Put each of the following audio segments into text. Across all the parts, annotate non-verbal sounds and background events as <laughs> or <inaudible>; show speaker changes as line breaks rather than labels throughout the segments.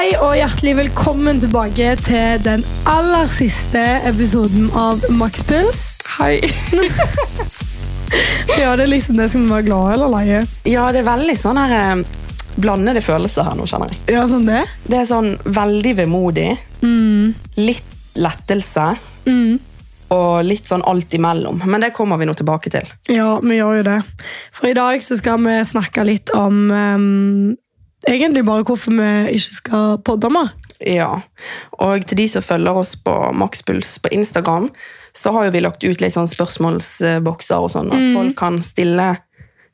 hjertelig velkommen tilbake til den aller siste episoden av Makspuls.
Hei.
Ja, det er liksom det som var glad eller leie.
Ja, det er veldig sånn her eh, blandede følelser her nå, kjenner jeg.
Ja, sånn det.
Det er sånn veldig vemodig, litt lettelse, og litt sånn alt imellom. Men det kommer vi nå tilbake til.
Ja, vi gjør jo det. For i dag så skal vi snakke litt om ehm, egentlig bare hvorfor vi ikke skal podde mer.
Ja, og til de som følger oss på Maxpuls på Instagram, så har jo vi lagt ut litt sånn spørsmålsbokser og sånn, at folk kan stille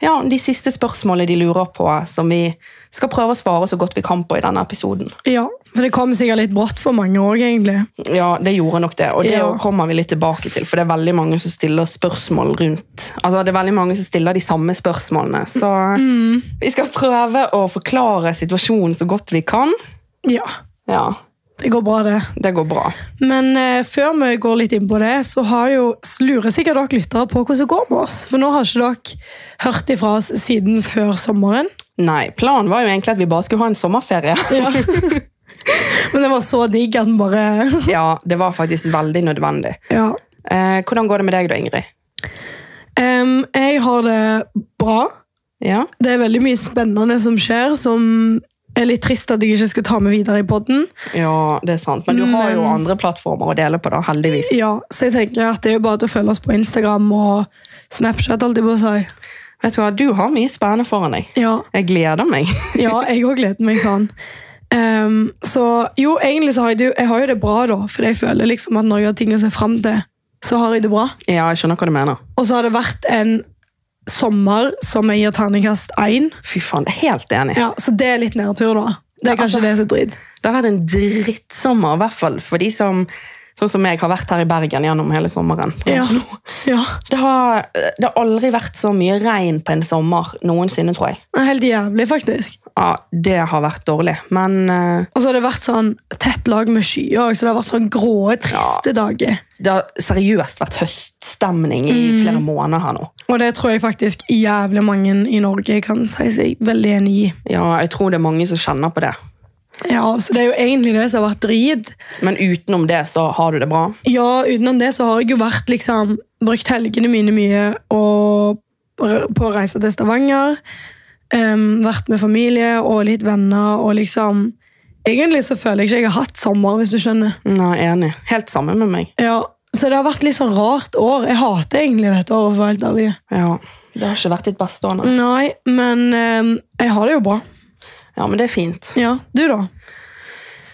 ja, de siste spørsmålene de lurer på, som vi skal prøve å svare så godt vi kan på i denne episoden.
Ja, for det kom sikkert litt brått for mange òg, egentlig.
Ja, det gjorde nok det, og det
Ja.
kommer vi litt tilbake til, for det er veldig mange som stiller spørsmål rundt. Altså, det er veldig mange som stiller de samme spørsmålene, så vi skal prøve å forklare situasjonen så godt vi kan.
Ja,
Ja,
det går bra, det.
det går bra.
Men eh, før vi går litt inn på det, så har jo, lurer sikkert dere lyttere på hvordan det går med oss. For nå har ikke dere hørt ifra oss siden før sommeren.
Nei, planen var jo egentlig at vi bare skulle ha en sommerferie.
<laughs> Men det var så digg at den bare
<laughs>
<laughs>
ja, det var faktisk veldig nødvendig.
Ja.
Eh, hvordan går det med deg da, Ingrid?
Em, jeg har det bra.
Ja,
Det er veldig mye spennende som skjer, som er litt trist at jeg ikke skal ta med videre i podden.
ja det er sant, men du har jo andre plattformer å dele på da, heldigvis.
Ja, så jeg tenker at det er jo bare til å følge oss på Instagram og Snapchat. Alt jeg bare sier.
Vet du hva, du har mye spennende foran deg.
Ja,
Jeg gleder meg.
Ja, jeg òg gleder meg sånn. Ehm, så jo, egentlig så har jeg det, jeg har jo det bra, da. For jeg føler liksom at når jeg har ting å se fram til, så har jeg det bra.
ja, jeg skjønner hva du mener.
Og så har det vært en sommer som jeg gir terningkast én.
Fy faen, helt enig.
Ja, så det er litt nedtur, da. Det er
Ja,
kanskje
altså-
det som er dritt.
Det har vært en drittsommer, i hvert fall for de som sånn som meg har vært her i Bergen gjennom hele sommeren.
Ja. ja.
Det, har, det har aldri vært så mye regn på en sommer noensinne, tror jeg.
Det er Helt jævlig, faktisk.
Ja, Det har vært dårlig, men eh,
Og så har det vært sånn tett lag med skyer, så det har vært sånn gråe, triste dager.
det har seriøst vært høststemning i flere måneder her nå.
Og det tror jeg faktisk jævlig mange i Norge kan si seg veldig enig i.
Ja, Jeg tror det er mange som kjenner på det.
Ja, Så det er jo egentlig det som har vært drit.
Men utenom det så har du det bra.
Ja, utenom det så har jeg jo vært liksom Brukt helgene mine mye og r- på å reise til Stavanger. em, vært med familie og litt venner og liksom Egentlig så føler jeg ikke jeg har hatt sommer, hvis du skjønner.
Nei, enig. Helt sammen med meg.
Ja, Så det har vært litt sånn rart år. Jeg hater egentlig dette året, for å være helt ærlig.
Ja, Det har ikke vært ditt beste år, nei.
Nei, men em, jeg har det jo bra.
Ja, men det er fint.
Ja, Du, da?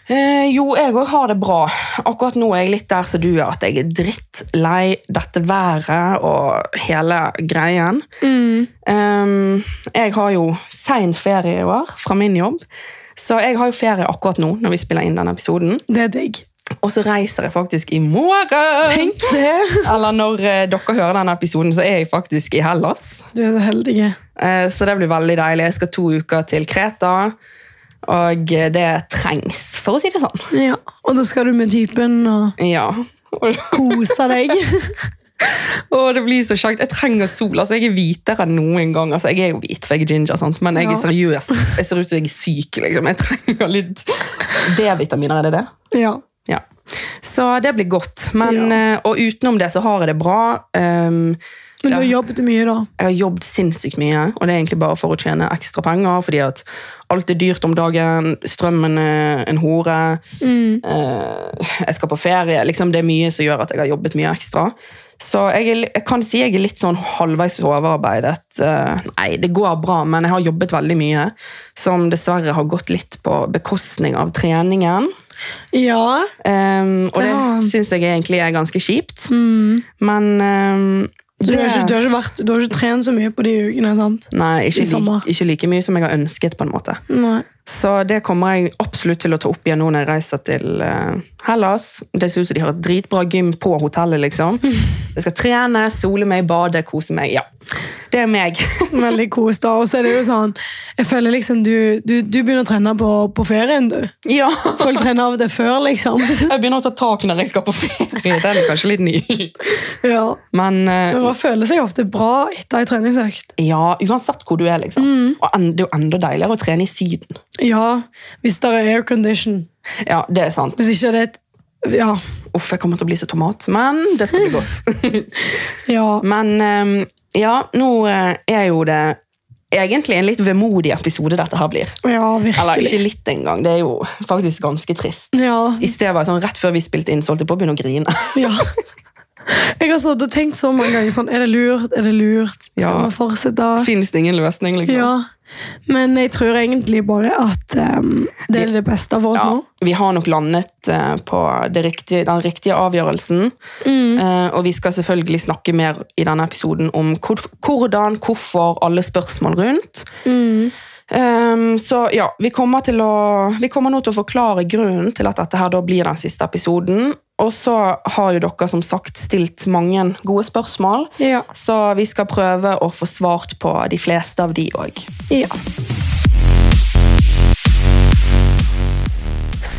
Eh, jo, jeg òg har det bra. Akkurat nå er jeg litt der som du er, at jeg er drittlei dette været og hele greien. Ehm, jeg har jo sein ferie i år fra min jobb, så jeg har jo ferie akkurat nå. når vi spiller inn denne episoden.
Det er digg.
Og så reiser jeg faktisk i morgen!
Tenk det!
Eller når eh, dere hører denne episoden, så er jeg faktisk i Hellas.
Du er så heldig.
Eh, Så det blir veldig deilig. Jeg skal to uker til Kreta, og eh, det trengs, for å si det sånn.
Ja, Og da skal du med typen og
Ja. Og-
kose deg.
Åh, det blir så kjekt. Jeg trenger sol. altså Jeg er hvitere enn noen gang. altså Jeg er jo hvit, for jeg er ginger, sant? men jeg
Ja.
er seriøst. Jeg ser ut som jeg er syk. liksom. Jeg trenger litt D-vitaminer. Er det det?
Ja.
Ja. Så det blir godt. Men, eh, Og utenom det så har jeg det bra. Um,
Men du
Ja.
har jobbet mye, da.
jeg har jobbet sinnssykt mye, og det er egentlig bare for å tjene ekstra penger. fordi at alt er dyrt om dagen, strømmen er en hore,
Mm.
eh, jeg skal på ferie. liksom Det er mye som gjør at jeg har jobbet mye ekstra. Så jeg, er, li- jeg kan si jeg er litt sånn halvveis overarbeidet. Eh, nei, det går bra, men jeg har jobbet veldig mye. Som dessverre har gått litt på bekostning av treningen.
Ja.
Eh, og det
Ja.
syns jeg egentlig er ganske kjipt. Men eh,
Mm. Du har,
det-
ikke, du, har ikke vært, du har ikke trent så mye på de ukene, sant?
Nei,
I
ikke,
sommer.
like, ikke like mye som jeg har ønsket. på en måte.
Nei.
Så det kommer jeg absolutt til å ta opp igjen nå når jeg reiser til eh, Hellas. Det ser ut som de har et dritbra gym på hotellet. liksom. Jeg skal trene, sole meg, bade, kose meg. Ja, det
<laughs>
er meg.
Veldig kos, da. Og så er det jo sånn Jeg føler liksom du, du, du begynner å trene på, på ferien, du.
ja.
Folk trener av og til før,
<laughs>
liksom.
Jeg begynner å ta tak når jeg skal på ferie. Den er kanskje litt ny.
Ja.
Men eh,
Men man føler seg ofte bra etter ei treningsøkt.
ja, uansett hvor du
Mm.
er, liksom. Og en, det er jo enda deiligere å trene i Syden.
Ja, hvis det er aircondition.
Ja, det er sant.
Hvis ikke det er et Ja.
Uff, jeg kommer til å bli så tomat, men det skal bli godt.
ja.
Men eh, ja, nå eh, er jo det egentlig en litt vemodig episode dette her blir.
Ja,
Eller ikke
virkelig.
litt engang, det er jo faktisk ganske trist.
Ja.
I stedet var jeg sånn, Rett før vi spilte inn, så holdt jeg på å begynne å grine. <laughs>
ja. Jeg har stått og tenkt så mange ganger sånn Er det lurt? Er det lurt? Skal
Ja.
man fortsette?
Fins det ingen løsning, liksom?
Ja. Men jeg tror egentlig bare at em, det er det beste for oss
Ja,
nå.
vi har nok landet eh, på det riktige, den riktige avgjørelsen. Eh, og vi skal selvfølgelig snakke mer i denne episoden om hvor, hvordan, hvorfor, alle spørsmål rundt. Eh, så ja, vi kommer, til å, vi kommer nå til å forklare grunnen til at dette her da blir den siste episoden. Og så har jo dere som sagt stilt mange gode spørsmål.
Ja.
Så vi skal prøve å få svart på de fleste av de òg.
Ja.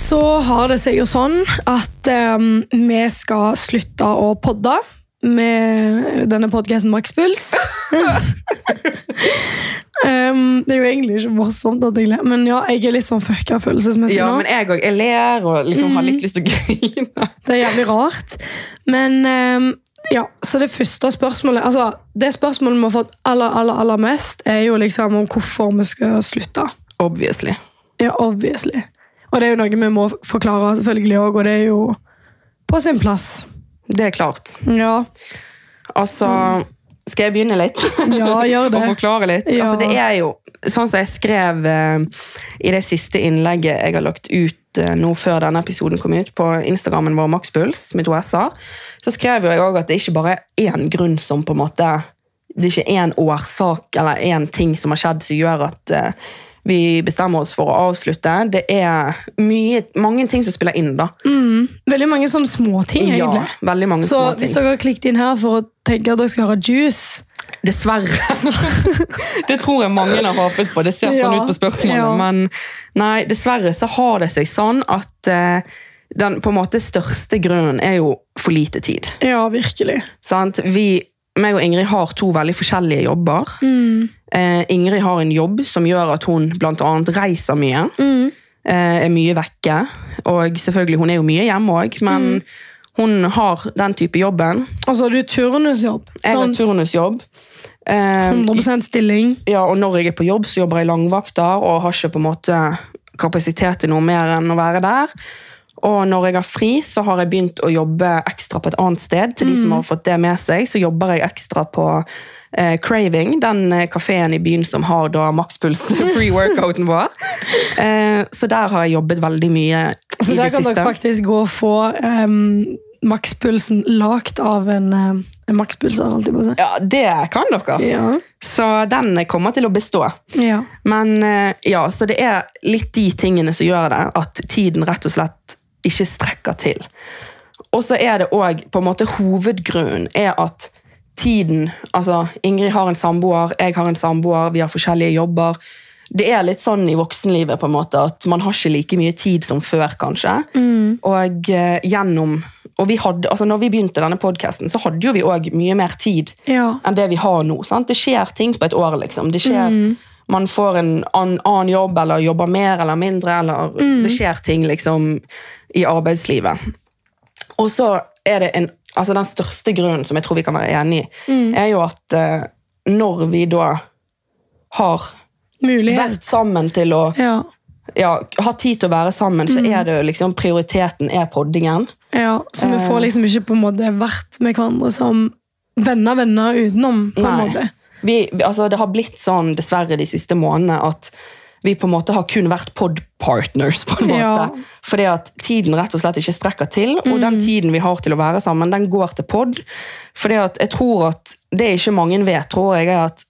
Så har det seg jo sånn at em, vi skal slutte å podde med denne podkasten
<laughs>
Makspuls. Em, Ehm, det er jo egentlig ikke morsomt, at jeg ler, men ja, jeg er litt sånn fucka følelsesmessig
Ja,
nå.
men jeg òg. Jeg ler og liksom har litt lyst til å <laughs> grine.
Det er jævlig rart. Men ehm, ja, så det første spørsmålet altså, Det spørsmålet vi har fått aller, aller, aller mest, er jo liksom om hvorfor vi skal slutte.
Obviously.
Ja, obviously. Og det er jo noe vi må forklare selvfølgelig òg, og det er jo på sin plass.
Det er klart.
Ja.
Altså, skal jeg begynne litt?
Mm. Ja,
<laughs>
gjør det.
Og forklare litt?
Ja.
Altså, det er jo, sånn som jeg skrev eh, i det siste innlegget jeg har lagt ut eh, nå før denne episoden kom ut, på Instagrammen vår Maxpuls, mitt OSA, så skrev jo jeg òg at det ikke bare er én grunn som på en måte Det er ikke én årsak eller én ting som har skjedd som gjør at eh, vi bestemmer oss for å avslutte. Det er mye, mange ting som spiller inn, da.
Veldig mange sånne småting,
Ja,
egentlig.
veldig mange
Mm, så
småting.
hvis dere har klikket inn her for å tenke at dere skal høre juice
Dessverre. <laughs> det tror jeg mange har håpet på. Det ser sånn
Ja,
ut på spørsmålet.
ja.
Men nei, dessverre så har det seg sånn at eh, den på en måte største grunnen er jo for lite tid.
Ja, virkelig.
Sant? Vi, meg og Ingrid har to veldig forskjellige jobber.
Mm.
Eh, Ingrid har en jobb som gjør at hun blant annet reiser mye.
Mm.
Eh, er mye vekke. Og selvfølgelig, hun er jo mye hjemme òg, men
Mm.
hun har den type jobben.
Og så har du turnusjobb.
Jeg har
sant?
turnusjobb. Eh,
100 stilling.
ja, og når jeg er på jobb, så jobber jeg langvakter og har ikke på en måte kapasitet til noe mer enn å være der. Og når jeg har fri, så har jeg begynt å jobbe ekstra på et annet sted. Til de
Mm.
som har fått det med seg, så jobber jeg ekstra på eh, Craving, den eh, kafeen i byen som har da makspuls <laughs> pre-workouten vår. Eh, så der har jeg jobbet veldig mye i
Så der
det
kan dere
siste.
faktisk gå og få em, makspulsen lagt av en, em, en makspulser, holdt jeg på å si.
Ja, det kan dere.
Ja.
Så den kommer til å bestå.
ja.
Men eh, ja, så det er litt de tingene som gjør det, at tiden rett og slett ikke strekker til. Og så er det òg på en måte hovedgrunnen er at tiden Altså, Ingrid har en samboer, jeg har en samboer, vi har forskjellige jobber. Det er litt sånn i voksenlivet på en måte at man har ikke like mye tid som før, kanskje. Og eh, gjennom og vi hadde, altså når vi begynte denne podkasten, så hadde jo vi òg mye mer tid
Ja.
enn det vi har nå. Sant? Det skjer ting på et år. Liksom. Det skjer, Man får en annen, annen jobb, eller jobber mer eller mindre. Eller, Det skjer ting liksom, i arbeidslivet. Og så er det en, altså den største grunnen, som jeg tror vi kan være enige i, er jo at eh, når vi da har
Mulighet.
vært sammen til å
Ja.
ja, ha tid til å være sammen, så er det jo liksom prioriteten er poddingen.
ja. Så vi
Eh.
får liksom ikke på en måte vært med hverandre som venner, venner utenom, på en
Nei.
måte.
Vi, vi- altså, det har blitt sånn, dessverre, de siste månedene at vi på en måte har kun vært podpartners, på en måte.
Ja.
Fordi at tiden rett og slett ikke strekker til, og
Mm.
den tiden vi har til å være sammen, den går til pod. Fordi at jeg tror at det ikke mange vet, tror jeg, er at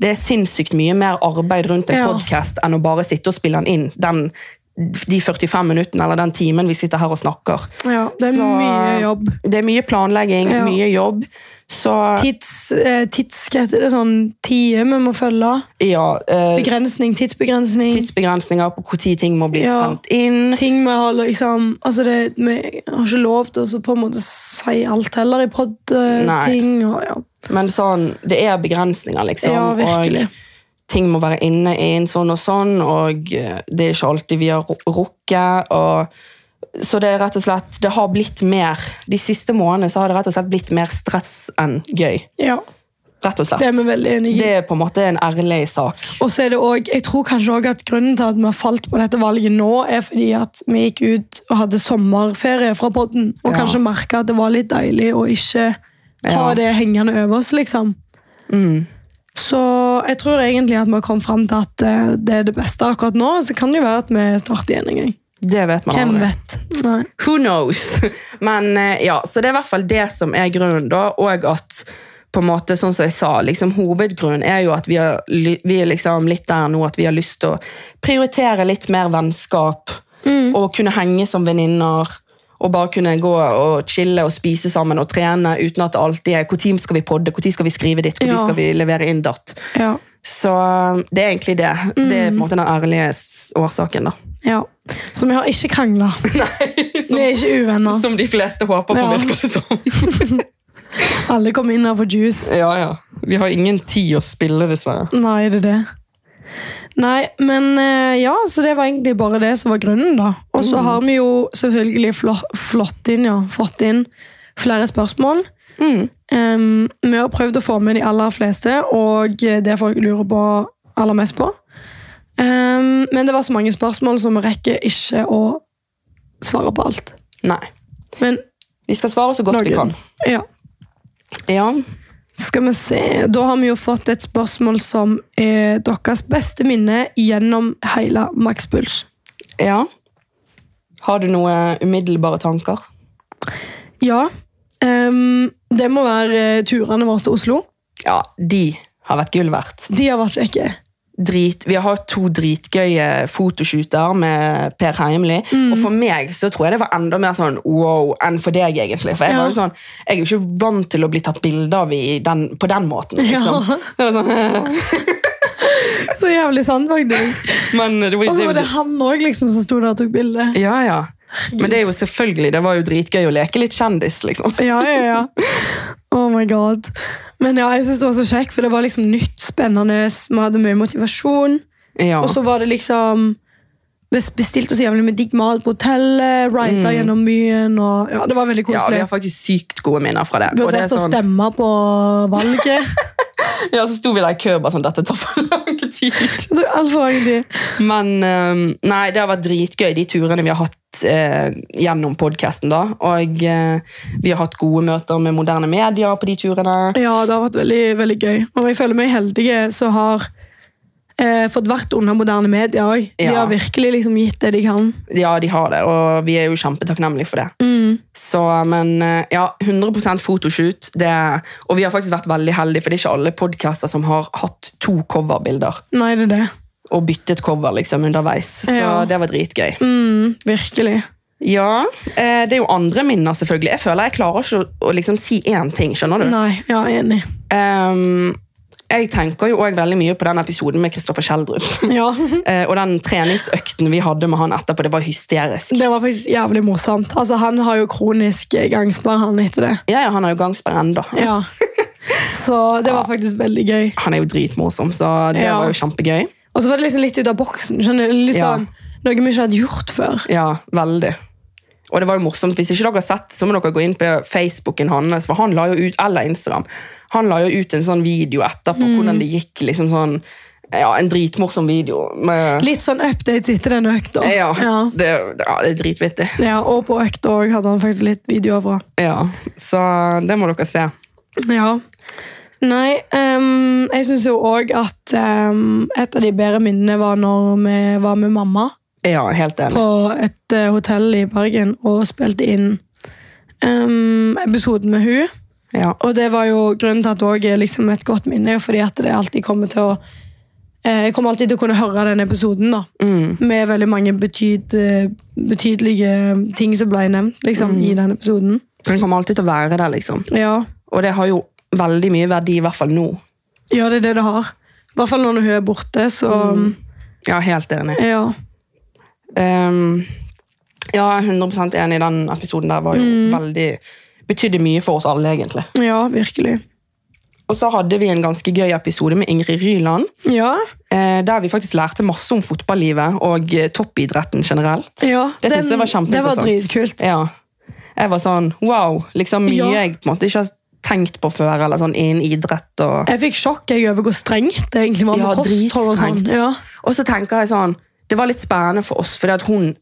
det er sinnssykt mye mer arbeid rundt en
Ja.
podcast enn å bare sitte og spille den inn. Den, de 45 minuttene eller den timen vi sitter her og snakker.
Ja, det er
Så-
mye jobb.
Det er mye planlegging,
Ja.
mye jobb. Så
Tids, eh, tids, hva heter det, sånn tider vi må følge.
ja, eh,
Begrensning, tidsbegrensning.
tidsbegrensninger på når ting må bli
Ja.
sendt inn.
ting vi har liksom altså det, Vi har ikke lov til å så på en måte si alt heller i
Nei.
pod-ting. og ja.
Men sånn, det er begrensninger, liksom.
Ja, virkelig.
Og ting må være inne inn sånn og sånn, og eh, det er ikke alltid vi har ru- rukket. Og, så det er rett og slett Det har blitt mer De siste månedene så har det rett og slett blitt mer stress enn gøy.
Ja,
Rett og
det er
slett.
vi veldig enige i.
Det er på en måte en ærlig sak.
Og så er det også, Jeg tror kanskje også at grunnen til at vi har falt på dette valget nå, er fordi at vi gikk ut og hadde sommerferie fra podden, og
Ja.
kanskje merka at det var litt deilig å ikke ha
Ja.
det hengende over oss, liksom.
Mm.
Så jeg tror egentlig at vi har kommet fram til at eh, det er det beste akkurat nå. Så kan det jo være at vi starter igjen en gang.
Det vet man
Hvem
aldri.
vet? Nei.
Who knows? <laughs> Men eh, ja, så det er i hvert fall det som er grunnen da, og at på en måte, sånn som jeg sa, liksom, hovedgrunnen er jo at vi, har, ly- vi er liksom litt der nå at vi har lyst til å prioritere litt mer vennskap,
Mm.
og kunne henge som venninner, og bare kunne gå og chille og spise sammen og trene, uten at det alltid er, hvor tid skal vi podde, hvor tid skal vi skrive ditt, hvor tid
Ja.
skal vi levere inn datt.
Ja.
Så det er egentlig det. Det er på en måte den ærlige s- årsaken da.
ja. Så vi har ikke krangla.
<laughs>
Vi er ikke uvenner.
Som de fleste håper på,
Ja.
virker det som.
Alle kom inn her for juice.
Ja, ja. Vi har ingen tid å spille, dessverre.
Nei, det er det. Nei, men eh, ja, så det var egentlig bare det som var grunnen, da. Og
Mm.
så har vi jo selvfølgelig flott, flott inn, ja, fått inn flere spørsmål.
Mm.
Em, vi har prøvd å få med de aller fleste, og det folk lurer på aller mest på. Em, men det var så mange spørsmål, så vi rekker ikke å svare på alt.
Nei.
Men
Vi skal svare så godt vi
noen.
kan.
Ja.
Ja.
Skal vi se Da har vi jo fått et spørsmål som er deres beste minne gjennom hele makspuls.
ja. Har du noen umiddelbare tanker?
Ja. ehm, det må være eh, turene våre til Oslo.
Ja, de har vært gull verdt.
De har vært kjekke.
Drit, vi har hatt to dritgøye fotoshooter med Per Heimli. Og for meg så tror jeg det var enda mer sånn wow enn for deg, egentlig. For jeg var jo sånn, jeg er jo ikke vant til å bli tatt bilde av i den, på den måten. liksom.
Ja.
Det var sånn,
<laughs> Så jævlig sant, faktisk.
Men eh, det var
Og så
jo
var det han òg liksom, som sto der og tok bilde.
Ja, ja. Men det er jo selvfølgelig, det var jo dritgøy å leke litt kjendis, liksom.
Ja, ja, ja. Oh my god. Men ja, jeg synes det var så kjekt, for det var liksom nytt, spennende. Vi hadde mye motivasjon.
Ja.
Og så var det liksom Vi bestilte så jævlig med digg mat på hotellet, rida gjennom byen og Ja, det var veldig
Mm. ja, vi
koselig.
har faktisk sykt gode minner fra det.
vi
Og det er
vurderte å
sånn,
stemme på
<laughs>
valget.
ja, så sto vi der i kø og bare sånn, dette tar for lang tid.
Det tok altfor lang tid.
Men ehm, nei, det har vært dritgøy, de turene vi har hatt eh, gjennom podcasten da. Og eh, vi har hatt gode møter med moderne medier på de turene.
Ja, det har vært veldig, veldig gøy. Og jeg føler meg heldig som har eh, fått vært under moderne medier òg. De
Ja.
har virkelig liksom gitt det de kan.
Ja, de har det, og vi er jo kjempetakknemlige for det.
Mm.
Så, men eh, ja, 100 fotoshoot. Det, og vi har faktisk vært veldig heldige, for det er ikke alle podcaster som har hatt to coverbilder
Nei, det er det.
og byttet cover liksom underveis. Så
Ja.
det var dritgøy.
Mm, virkelig.
Ja, eh, Det er jo andre minner, selvfølgelig. Jeg føler jeg klarer ikke å, å liksom si én ting. skjønner du?
Nei, ja, enig.
Ehm, jeg tenker jo òg veldig mye på den episoden med Kristoffer Schjelderup.
Ja.
<laughs>
<laughs>
Eh, og den treningsøkten vi hadde med han etterpå, det var hysterisk.
Det var faktisk jævlig morsomt. Altså, Han har jo kronisk eh, gangsperre, han etter det.
Ja, ja, Han har jo gangsperre ennå.
<laughs> Ja. Så det var faktisk veldig gøy.
Han er jo dritmorsom, så det
Ja.
var jo kjempegøy.
Og så var det liksom litt ut av boksen. skjønner du? Litt
Ja.
sånn, Noe vi ikke hadde gjort før.
Ja, veldig. Og det var jo morsomt. Hvis ikke dere har sett, så må dere gå inn på Facebooken hans, for han la jo ut, eller Instagram, han la jo ut en sånn video etterpå,
Mm.
hvordan det gikk, liksom sånn, ja, en dritmorsom video. Med,
Litt sånn updates etter den økta.
ja,
Ja.
Det, ja, det er dritvittig.
Ja, og på økta òg hadde han faktisk litt videoer fra.
Ja, så det må dere se.
Ja. Nei, ehm, jeg syns jo òg at ehm, et av de bedre minnene var når vi var med mamma
Ja, helt enig.
på et eh, hotell i Bergen og spilte inn ehm, episoden med hun.
Ja,
Og det var jo grunnen til at det også er liksom et godt minne, er jo fordi at det alltid kommer til å eh, Jeg kommer alltid til å kunne høre den episoden, da.
mm,
Med veldig mange betyd, eh, betydelige ting som ble nevnt liksom,
Mm.
i den episoden.
den kommer alltid til å være der, liksom.
Ja.
Og det har jo veldig mye verdi, i hvert fall nå.
ja, det er det det har. I hvert fall når hun er borte, så
Mm. Ja, helt enig.
ja.
Ehm, ja, jeg er 100 enig. Den
Mm.
episoden der var jo veldig Betydde mye for oss alle, egentlig.
ja, virkelig.
Og så hadde vi en ganske gøy episode med Ingrid Ryland,
Ja,
eh, der vi faktisk lærte masse om fotballivet og eh, toppidretten generelt.
ja
Det synes jeg var
Det var
kjempeinteressant.
dritkult.
Ja. Jeg var sånn wow. Liksom mye
Ja.
jeg på en måte ikke har tenkt på før, eller sånn innen idrett og
Jeg fikk sjokk jeg over hvor strengt det egentlig var med
Ja,
kosthold og sånn.
dritstrengt.
Ja.
Og så tenker jeg sånn Det var litt spennende for oss, fordi at hun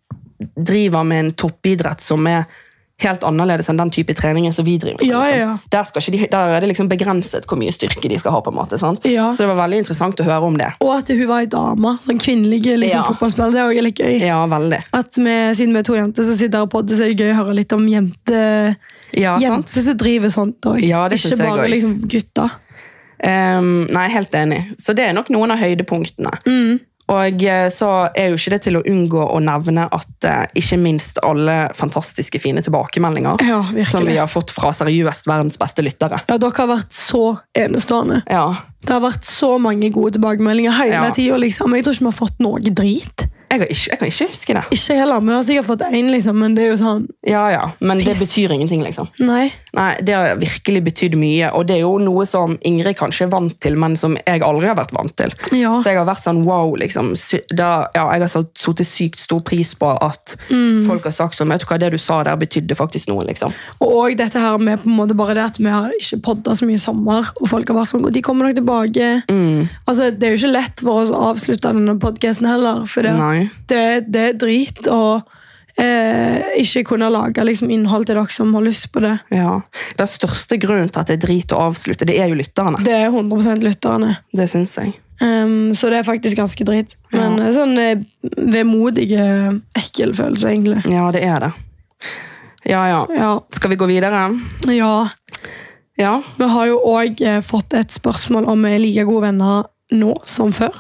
driver med en toppidrett som er helt annerledes enn den type treninger som vi driver med.
Ja, ja, ja.
Liksom. Der, skal ikke de, der er det liksom begrenset hvor mye styrke de skal ha. på en måte, sant?
Ja.
Så det var veldig interessant å høre om det.
Og at hun var ei dame. Sånn kvinnelig liksom,
Ja.
fotballspiller. Det er også litt gøy.
Ja, veldig.
At vi, Siden vi er to jenter som sitter her og podder, så er det gøy å høre litt om jente,
Ja, sant?
jenter som driver sånt òg.
Ja, det
Ikke
synes jeg
bare
også.
liksom gutter.
Ehm, nei, helt enig. Så det er nok noen av høydepunktene.
Mm.
Og eh, så er jo ikke det til å unngå å nevne at eh, ikke minst alle fantastiske fine tilbakemeldinger
Ja, virkelig.
som vi har fått fra seriøst verdens beste lyttere.
Ja, Dere har vært så enestående.
Ja,
Det har vært så mange gode tilbakemeldinger hele
Ja.
tida. Liksom. Jeg tror ikke vi har fått noe drit.
jeg, har ikke, jeg kan ikke huske det.
Ikke heller, men jeg har sikkert fått én, liksom, men det er jo sånn
Ja, ja, Men det
Piss.
betyr ingenting, liksom.
Nei.
Nei, Det har virkelig betydd mye, og det er jo noe som Ingrid kanskje er vant til, men som jeg aldri har vært vant til.
Ja.
Så jeg har vært sånn wow, liksom. sy- Da, ja, jeg har satt, satt sykt stor pris på at
Mm.
folk har sagt sånn, vet du hva, det du sa der betydde faktisk noe, liksom.
Og dette her med på en måte bare det at vi har ikke podda så mye i sommer, og folk har vært sånn, de kommer nok tilbake. Altså, Det er jo ikke lett for oss å avslutte denne podcasten heller, for det,
Nei.
det, det er drit å eh, ikke kunne lage liksom, innhold til dere som har lyst på det.
Ja. Den største grunnen til at det er drit å avslutte, det er jo lytterne.
Det er 100 lytterne.
Det syns jeg.
Um, så det er faktisk ganske drit.
Ja.
Men eh, sånn eh, vemodige, ekkel følelse, egentlig.
Ja, det er det. Ja, ja.
Ja.
Skal vi gå videre?
ja.
Ja.
Vi har jo òg eh, fått et spørsmål om vi er like gode venner nå som før.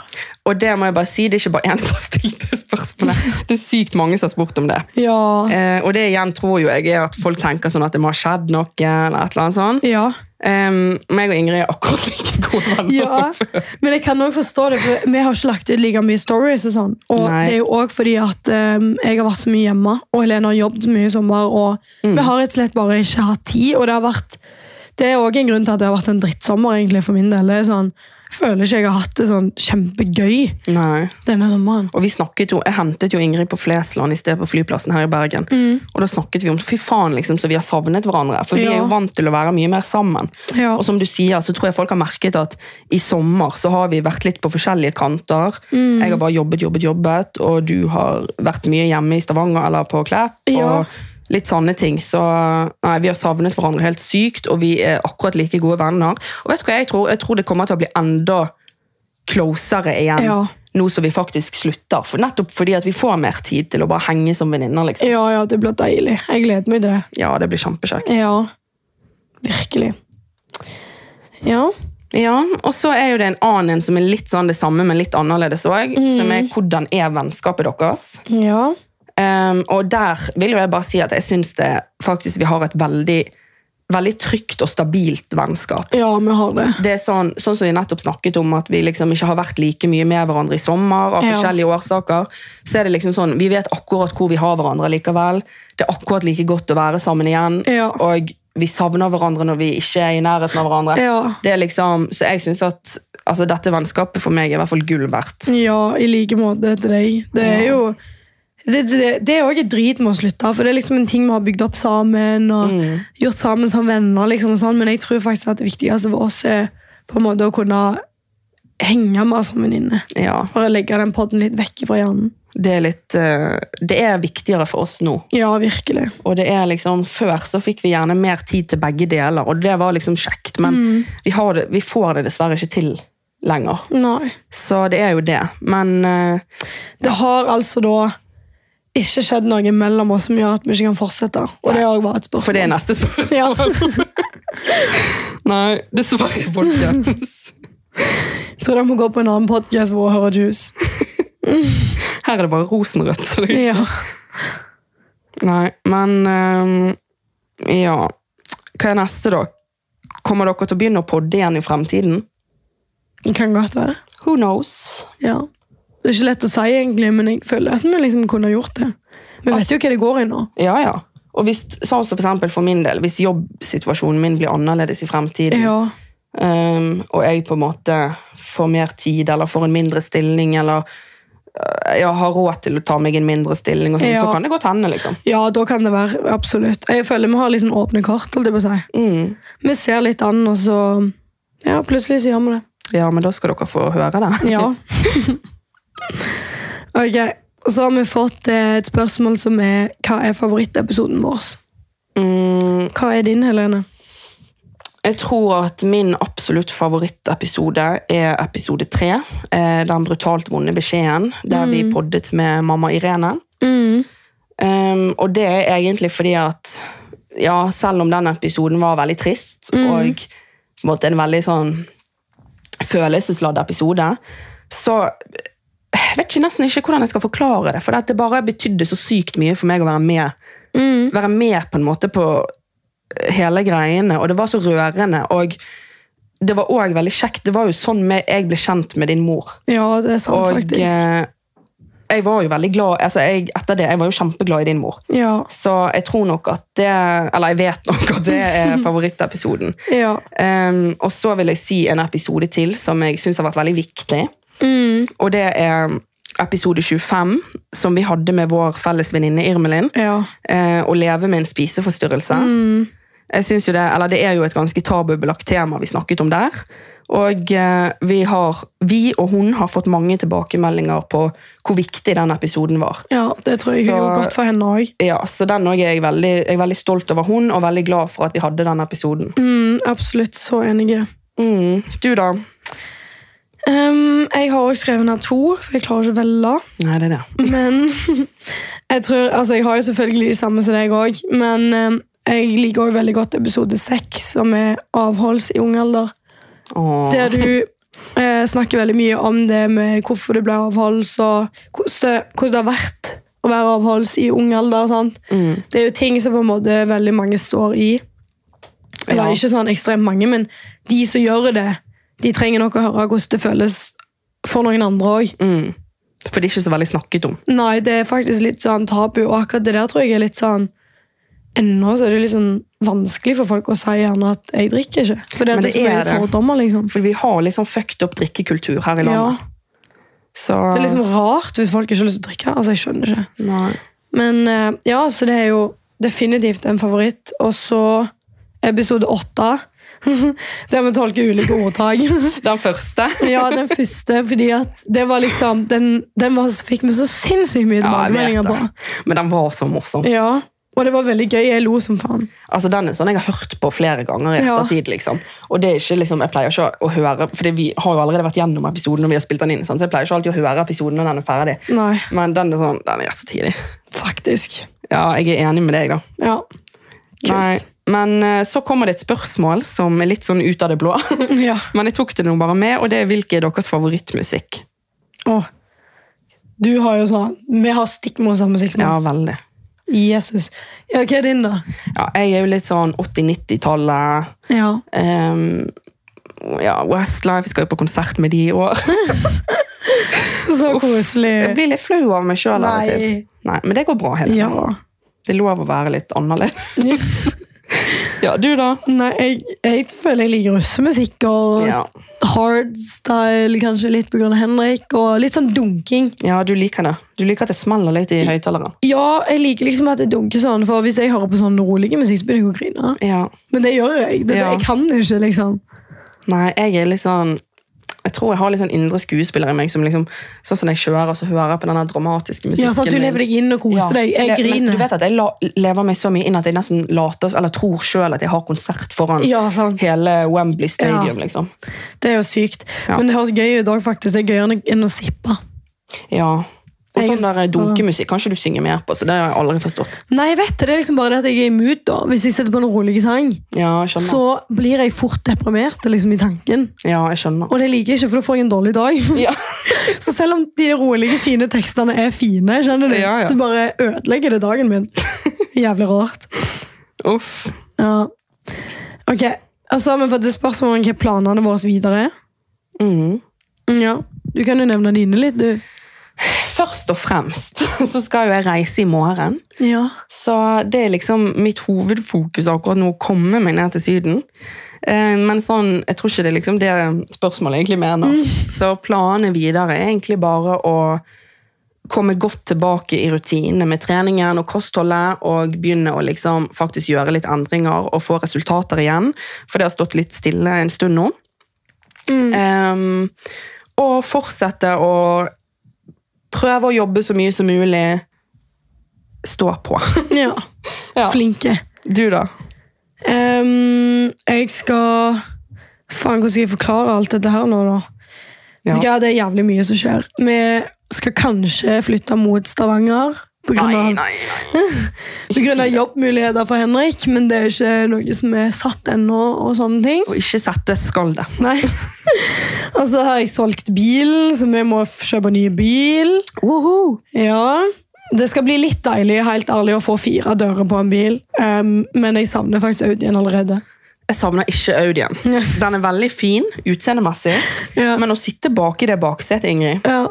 Og det må jeg bare si, det er ikke bare én som har stilt det spørsmålet. Det er sykt mange som har spurt om det.
Ja.
Eh, og det igjen tror jo jeg er at folk tenker sånn at det må ha skjedd noe, eller et eller annet sånt.
Ja.
Um, meg og Ingrid er akkurat like gode venner
ja.
som før.
Men jeg kan òg forstå det, for vi har ikke lagt ut like mye stories. Og sånn. Og
Nei.
det er jo òg fordi at ehm, jeg har vært så mye hjemme, og Helene har jobbet så mye i sommer. Og vi har rett og slett bare ikke hatt tid. Og det har vært det er òg en grunn til at det har vært en drittsommer egentlig for min del. Det er sånn, jeg føler ikke jeg har hatt det sånn kjempegøy
Nei.
denne sommeren.
Og vi snakket jo, Jeg hentet jo Ingrid på Flesland i sted på flyplassen her i Bergen.
Mm.
Og da snakket vi om fy faen, liksom, så vi har savnet hverandre. For vi
Ja.
er jo vant til å være mye mer sammen.
Ja.
Og som du sier, så tror jeg folk har merket at i sommer så har vi vært litt på forskjellige kanter.
Mm.
Jeg har bare jobbet, jobbet, jobbet, og du har vært mye hjemme i Stavanger eller på Klepp.
Ja.
Og litt sånne ting. Så nei, vi har savnet hverandre helt sykt, og vi er akkurat like gode venner. Og vet du hva jeg tror? Jeg tror det kommer til å bli enda closere igjen.
Ja.
Nå som vi faktisk slutter. For nettopp fordi at vi får mer tid til å bare henge som venninner. Liksom.
ja, ja, det blir deilig. Jeg gleder meg til det.
Ja, det blir kjempekjekt.
Ja. Virkelig. Ja.
Ja, og så er jo det en annen en som er litt sånn det samme, men litt annerledes òg. Som er 'Hvordan er vennskapet deres?'
Ja.
Ehm, og der vil jo jeg bare si at jeg syns det faktisk vi har et veldig, veldig trygt og stabilt vennskap.
Ja, vi har det.
Det er sånn, sånn som vi nettopp snakket om, at vi liksom ikke har vært like mye med hverandre i sommer. av
Ja.
forskjellige årsaker, så er det liksom sånn, Vi vet akkurat hvor vi har hverandre likevel. Det er akkurat like godt å være sammen igjen.
Ja.
Og vi savner hverandre når vi ikke er i nærheten av hverandre.
Ja.
Det er liksom, så jeg synes at altså, dette vennskapet for meg er i hvert fall gull verdt.
Ja, i like måte til deg. Det er jo det, det, det er òg drit med å slutte, for det er liksom en ting vi har bygd opp sammen. og
Mm.
gjort sammen som venner, liksom, og sånn, men jeg tror faktisk at det viktigste for oss er på en måte å kunne henge med som venninne.
Ja,
Bare legge den podden litt vekk fra hjernen.
det er litt eh, Det er viktigere for oss nå.
Ja, virkelig.
Og det er liksom, Før så fikk vi gjerne mer tid til begge deler, og det var liksom kjekt, men
Mm.
vi, har det, vi får det dessverre ikke til lenger.
Nei.
Så det er jo det. Men eh,
Det har altså da ikke skjedd noe mellom oss som gjør at vi ikke kan fortsette. Og det òg var et spørsmål.
For det er neste spørsmål.
Ja.
<laughs> Nei, dessverre, folkens.
Jeg tror det må gå på en annen podkast hvor hun hører
<laughs>
juice.
Her er det bare rosenrødt. Så det er
Ja.
Nei, men ehm, Ja. Hva er neste, da? Kommer dere til å begynne å podde igjen i fremtiden?
Det kan godt være.
Who knows?
Ja. Det er ikke lett å si, egentlig, men jeg føler at vi liksom kunne gjort det. Vi vet jo hva det går i nå.
Ja, ja. Og hvis, sånn som for, eksempel for min del, hvis jobbsituasjonen min blir annerledes i fremtiden,
Ja.
Um, og jeg på en måte får mer tid, eller får en mindre stilling, eller øh, ja, har råd til å ta meg en mindre stilling, og sånn,
Ja.
så kan det godt hende, liksom.
Ja, da kan det være. Absolutt. Jeg føler vi har litt sånn åpne kort. holdt jeg på å si.
Mm.
Vi ser litt an, og så Ja, plutselig så gjør vi det.
Ja, men da skal dere få høre det. <laughs>
Ja. ok, så har vi fått eh, et spørsmål som er Hva er favorittepisoden vår?
Mm,
Hva er din, Helene?
jeg tror at min absolutt favorittepisode er episode tre. Eh, den brutalt vonde beskjeden, der vi poddet med mamma Irene. Mm. Um, og det er egentlig fordi at ja, selv om den episoden var veldig trist,
Mm.
og på en måte en veldig sånn følelsesladd episode, så jeg vet ikke nesten ikke hvordan jeg skal forklare det, for det bare betydde så sykt mye for meg å være med.
Mm.
Være med på en måte på eh, hele greiene, og det var så rørende, og det var også veldig kjekt. Det var jo sånn med, jeg ble kjent med din mor.
Ja, det er sant,
Og
faktisk.
eh, jeg var jo veldig glad altså jeg, etter det, jeg var jo kjempeglad i din mor.
Ja.
Så jeg tror nok at det Eller jeg vet nok at det er favorittepisoden.
ja.
Em, og så vil jeg si en episode til som jeg syns har vært veldig viktig.
Mm.
Og det er episode 25, som vi hadde med vår felles venninne Irmelin.
Ja.
eh, å leve med en spiseforstyrrelse. Jeg synes jo det, eller det er jo et ganske tabubelagt tema vi snakket om der. Og eh, vi, har, vi og hun har fått mange tilbakemeldinger på hvor viktig den episoden var.
ja, det tror jeg
Så-
gjorde godt for henne òg.
Ja, så den også er jeg, veldig, jeg er veldig stolt over hun, og veldig glad for at vi hadde den episoden.
Mm, absolutt. Så enig.
Mm. Du da?
Um, jeg har også skrevet ned to, for jeg klarer ikke å velge.
Nei, det er det.
Men jeg tror, altså jeg har jo selvfølgelig de samme som deg òg, men eh, jeg liker også veldig godt episode seks, som er avholds i ung alder.
Åh.
Der du eh, snakker veldig mye om det med hvorfor du ble avholds, og hvordan det, hvordan det har vært å være avholds i ung alder. Sant?
Mm.
Det er jo ting som på en måte veldig mange står i. Eller
Ja.
ikke sånn ekstremt mange, men de som gjør det, de trenger nok å høre hvordan det føles for noen andre òg.
Mm. For det er ikke så veldig snakket om.
Nei, det er faktisk litt sånn tabu, og akkurat det der tror jeg er litt sånn Ennå så er det litt sånn vanskelig for folk å si gjerne at 'jeg drikker ikke'. For det,
Men
er
det
så mye
er det.
fordommer, liksom.
For vi har litt sånn fucked up drikkekultur her i
Ja,
landet. Så
det er liksom rart hvis folk ikke har lyst til å drikke. Altså, jeg skjønner ikke.
Nei.
Men eh, ja, så det er jo definitivt en favoritt. Og så episode åtte. <laughs> Der vi tolker ulike ordtak. <laughs>
Den første.
ja, den første, fordi at det var liksom Den, den var, fikk vi så sinnssykt mye
Ja, jeg vet
tilbakemeldinger
det.
på.
Men den var så morsom.
Ja, Og det var veldig gøy. Jeg lo som faen.
Altså, den er sånn jeg har hørt på flere ganger i
Ja.
ettertid. liksom. Og det er ikke liksom, Jeg pleier ikke å høre Fordi vi har jo allerede vært gjennom episoden, og vi har spilt den inn, sant? så jeg pleier ikke alltid å høre episoden når den er ferdig.
Nei,
Men den er sånn, den er så tidlig.
faktisk.
Ja, jeg er enig med deg, da.
Ja.
Nei,
Kult.
men eh, så kommer det et spørsmål som er litt sånn ut av det blå. <laughs>
Ja.
men jeg tok det nå bare med, og det er hvilken er deres favorittmusikk?
Åh. Du har jo sånn Vi har stikk mot samme musikk nå.
Ja, veldig.
Jesus. Ja, hva er din, da?
Ja, jeg er jo litt sånn 80-90-tallet.
Ja.
ehm, ja, Westlife skal jo på konsert med de i år.
Så
<laughs> Jeg
koselig.
blir litt flau av meg sjøl av og til.
Nei.
Nei, men det går bra. Helene.
Ja.
Det er lov å være litt annerledes. <laughs> ja, du da?
Nei, jeg, jeg føler jeg liker russemusikk og
Ja.
hardstyle, kanskje litt på grunn av Henrik, og litt sånn dunking.
ja, du liker det. Du liker at det smeller litt i høyttaleren.
Ja, jeg liker liksom at det dunker sånn, for hvis jeg hører på sånn rolig musikk, så begynner jeg å grine.
Ja.
Men det gjør jeg. Det, er det,
Ja.
jeg kan ikke, liksom.
Nei, jeg er litt sånn jeg tror jeg har litt sånn indre skuespiller i meg som liksom, sånn som jeg kjører og så hører jeg på den der dramatiske musikken.
Ja, sant, Du
min.
lever deg inn og koser deg.
Le-
Jeg
Men du
griner.
vet at jeg la, lever meg så mye inn at jeg nesten later, eller tror sjøl at jeg har konsert foran
Ja, sant.
hele Wembley Stadium.
Ja.
liksom.
Det er jo sykt.
Ja.
Men det høres gøy ut òg, faktisk. Det er gøyere enn- enn å sippe.
Ja. Og
Jeg
sånn der
så-
dunkemusikk kan ikke du synge mer på, så det har jeg aldri forstått.
Nei, jeg vet det. Det er liksom bare det at jeg er i mood, da. Hvis jeg setter på en rolig sang,
Ja, jeg skjønner.
så blir jeg fort deprimert liksom, i tanken.
Ja, jeg skjønner.
Og det liker jeg ikke, for da får jeg en dårlig dag. <laughs>
Ja.
Så selv om de rolige, fine tekstene er fine, skjønner du,
Ja, ja.
så bare ødelegger det dagen
<laughs>
min. Jævlig rart.
Uff.
Ja. Ok, og så har vi fått et spørsmål om hva planene våre videre er.
Mhm.
Ja, Du kan jo nevne dine litt, du.
først og fremst <laughs> så skal jo jeg reise i morgen.
Ja.
Så det er liksom mitt hovedfokus akkurat nå, å komme meg ned til Syden. Eh, Men sånn, jeg tror ikke det er liksom det spørsmålet egentlig mener. Så planene videre er egentlig bare å komme godt tilbake i rutinene med treningen og kostholdet, og begynne å liksom faktisk gjøre litt endringer og få resultater igjen. For det har stått litt stille en stund nå. Ehm, og fortsette å prøve å jobbe så mye som mulig. Stå på.
<laughs> ja.
<laughs> Ja.
Flinke.
Du, da?
Ehm, jeg skal Faen, hvordan skal jeg forklare alt dette her nå, da?
Ja.
Vet du hva, det er jævlig mye som skjer. Vi skal kanskje flytte mot Stavanger. På grunn av,
nei.
<laughs> på grunn av jobbmuligheter for Henrik, men det er ikke noe som er satt ennå. og sånne ting.
Og ikke sette skallet.
Nei. <laughs> Og så har jeg solgt bilen, så vi må f- kjøpe ny bil. Ja. Det skal bli litt deilig helt ærlig, å få fire dører på en bil, Ehm, men jeg savner faktisk Audien allerede.
Jeg savner ikke Audien.
Ja.
Den er veldig fin utseendemessig,
Ja.
men å sitte baki det baksetet, Ingrid,
Ja,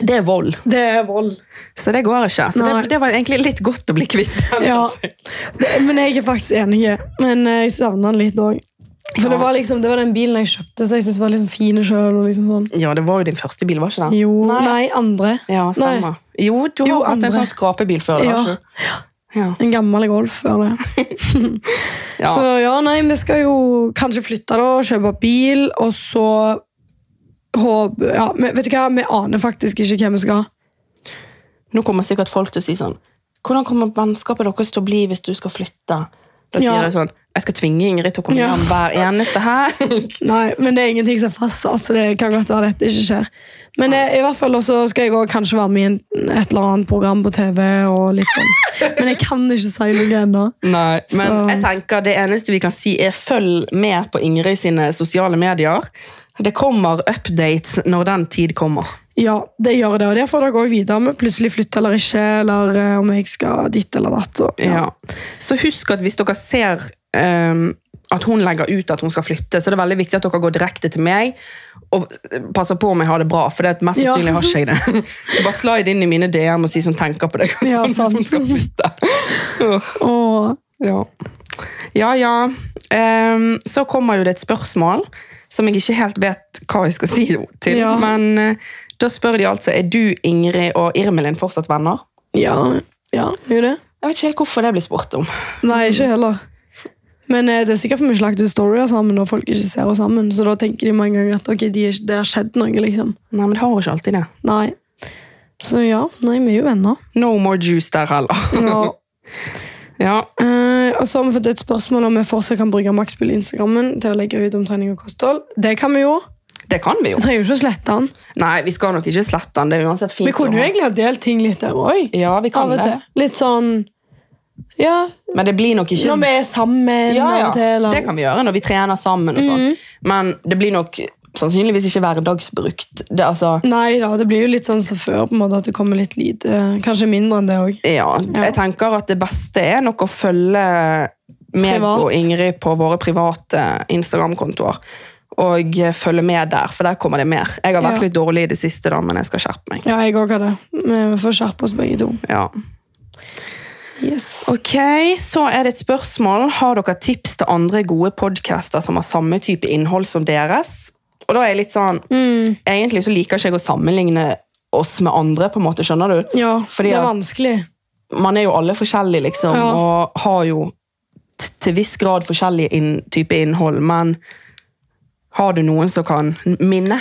det er vold.
det er vold.
Så det går ikke. Så det,
Nei.
det var egentlig litt godt å bli kvitt <laughs> den.
Ja. Det, men jeg er faktisk enig, men eh, jeg savner den litt òg. For
Ja.
det, var liksom, det var den bilen jeg kjøpte, så jeg syntes var liksom fin sjøl. Liksom sånn.
Ja, det var jo din første bil, var ikke det?
Jo, nei.
Nei.
andre.
Ja, stemmer. Jo, du har
Jo,
hatt en
andre.
sånn skrapebil før.
Ja.
har ikke du? Ja.
En gammel Golf før det.
Ja.
Så ja, nei, vi skal jo kanskje flytte da, kjøpe bil, og så håp, ja, men Vet du hva, vi aner faktisk ikke hvem vi skal.
Nå kommer sikkert folk til å si sånn Hvordan kommer vennskapet deres til å bli hvis du skal flytte? Da sier
Ja.
jeg sånn Jeg skal tvinge Ingrid til å komme
Ja.
hjem hver eneste
<laughs>
helg.
Nei, men det er ingenting som er fastsatt, så det kan godt være dette ikke skjer. Men eh, i hvert fall også skal jeg også kanskje være med i en- et eller annet program på TV. og litt sånn. Men jeg kan ikke si noe ennå.
Nei, men
Så-
jeg tenker det eneste vi kan si er følg med på Ingrid sine sosiale medier. Det kommer updates når den tid kommer.
Ja, det gjør det, og det får dere også vite om jeg plutselig flytter eller ikke, eller eh, om jeg skal dit eller datt. så, Ja.
Ja. Så husk at hvis dere ser ehm, at hun legger ut at hun skal flytte, så er det veldig viktig at dere går direkte til meg og passer på om jeg har det bra, for det er at mest
Ja.
sannsynlig har ikke jeg det. <laughs> Så bare slide inn i mine DM og si sånn tenker på deg
Ja,
<laughs> sånn, hvis
sant.
hun skal flytte. Åh,
Og
ja. Ja, ja. Ehm, så kommer jo det et spørsmål som jeg ikke helt vet hva jeg skal si til,
Ja.
men eh, da spør de altså, er du, Ingrid og Irmelin fortsatt venner?
ja, ja, det er jo det.
Jeg vet ikke helt hvorfor det blir spurt om.
Nei, ikke heller. Men eh, det er sikkert for vi lagt ut storyer sammen og folk ikke ser oss sammen. Så da tenker de mange ganger at ok, de er, ikke- det har skjedd noe, liksom.
Nei, men det har jo ikke alltid det.
Nei. Så ja, nei, vi er jo venner.
No more juice der heller. <laughs>
Ja.
Ja,
Eh, og så har vi fått et spørsmål om vi fortsatt kan bruke maksbill i Instagrammen til å legge ut om trening og kosthold. Det kan vi jo.
det kan vi jo.
Vi trenger jo ikke å slette den.
Nei, vi skal nok ikke slette den. Det er uansett fint.
Vi kunne jo
å ha.
egentlig ha delt ting litt der òg.
Ja, vi
Av
kan
og
det.
til. Litt sånn Ja,
Men det blir nok ikke
når vi er sammen
ja,
av
ja.
og til. Eller... Mm.
Det kan vi gjøre når vi trener sammen og sånn. Men det blir nok sannsynligvis ikke hverdagsbrukt. Det, altså,
Nei da, det blir jo litt sånn som før, på en måte, at det kommer litt lite. Kanskje mindre enn det òg.
ja, jeg tenker at det beste er nok å følge meg
Privat.
og Ingrid på våre private Instagram-kontoer. Og eh, følge med der, for der kommer det mer. Jeg har vært
Ja.
litt dårlig i det siste, da, men jeg skal skjerpe meg.
Ja, jeg òg har det. Vi får skjerpe oss begge to.
Ja.
Yes.
Ok, så er det et spørsmål. Har dere tips til andre gode podcaster som har samme type innhold som deres? Og da er jeg litt sånn, egentlig så liker ikke jeg å sammenligne oss med andre, på en måte, skjønner du?
Ja,
Fordi
det er
at-
vanskelig.
Man er jo alle forskjellige, liksom,
Ja.
og har jo t- til viss grad forskjellige inn, type innhold, men har du noen som kan minne?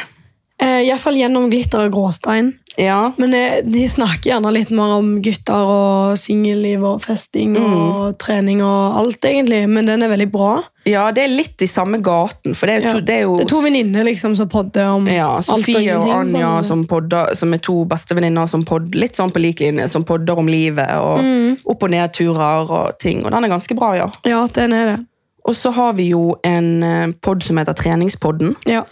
Eh, Iallfall gjennom glitter og gråstein.
Ja.
Men eh, de snakker gjerne litt mer om gutter og singelliv og festing og
Mm.
trening og alt, egentlig. Men den er veldig bra.
ja, det er litt i samme gaten, for det er jo,
Ja.
to, det er jo
Det er to venninner liksom, som podder om
Ja, Sofie og
på en
Anja
måte.
som, podder, som er to bestevenninner som podd, litt sånn på lik linje, som podder om livet og
Mm.
opp- og nedturer og ting. Og den er ganske bra, ja.
Ja, den er det.
Og så har vi jo en eh, podd som heter Treningspodden.
Ja.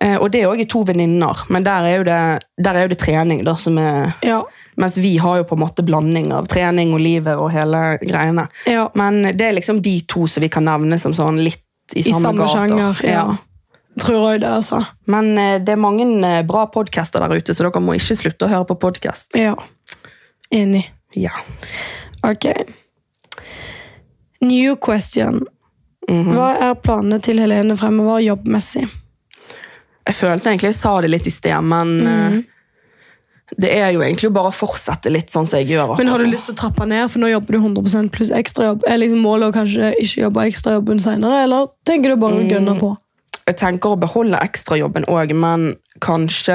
Eh, Og det er òg to venninner, men der er jo det, der er jo det trening, da, som er
Ja.
Mens vi har jo på en måte blanding av trening og livet og hele greiene.
Ja.
Men det er liksom de to som vi kan nevne som sånn litt i
I
samme,
samme
gater.
sjanger. Ja. Tror òg det, altså.
Men eh, det er mange eh, bra podcaster der ute, så dere må ikke slutte å høre på podcast.
Ja. Enig.
Ja.
Ok. New question. Hva er planene til Helene fremover jobbmessig?
Jeg følte egentlig jeg sa det litt i sted, men eh, det er jo egentlig bare å fortsette litt sånn som jeg gjør.
Men har du
akkurat nå.
lyst til å trappe ned, for nå jobber du 100 pluss ekstrajobb? Er liksom målet å kanskje ikke jobbe ekstrajobben senere, eller tenker du bare å gønne på?
jeg tenker å beholde ekstrajobben òg, men kanskje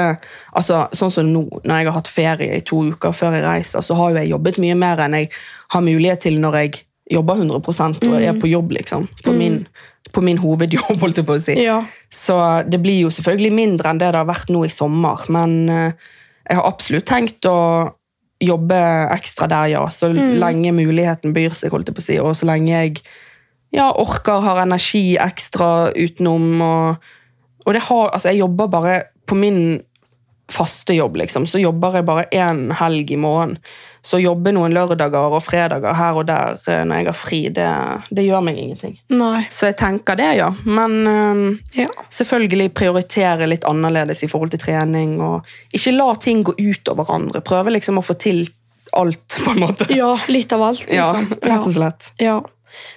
altså, Sånn som nå, når jeg har hatt ferie i to uker før jeg reiser, så har jo jeg jobbet mye mer enn jeg har mulighet til når jeg jobber 100 og er på jobb, liksom. På, min, på min hovedjobb, holdt jeg på å si.
Ja.
Så det blir jo selvfølgelig mindre enn det det har vært nå i sommer, men eh, jeg har absolutt tenkt å jobbe ekstra der, ja. Så lenge muligheten byr seg, holdt jeg på å si, og så lenge jeg ja, orker, har energi ekstra utenom. Og, og det har, altså, jeg jobber bare på min faste jobb, liksom. Så jobber jeg bare én helg i måneden. Så jobbe noen lørdager og fredager her og der eh, når jeg har fri, det, det gjør meg ingenting.
Nei.
Så jeg tenker det, ja. Men eh,
Ja.
selvfølgelig prioritere litt annerledes i forhold til trening. Og ikke la ting gå ut over hverandre. Prøve liksom å få til alt, på en måte.
ja, litt av alt,
Ja,
liksom.
rett og slett.
Ja.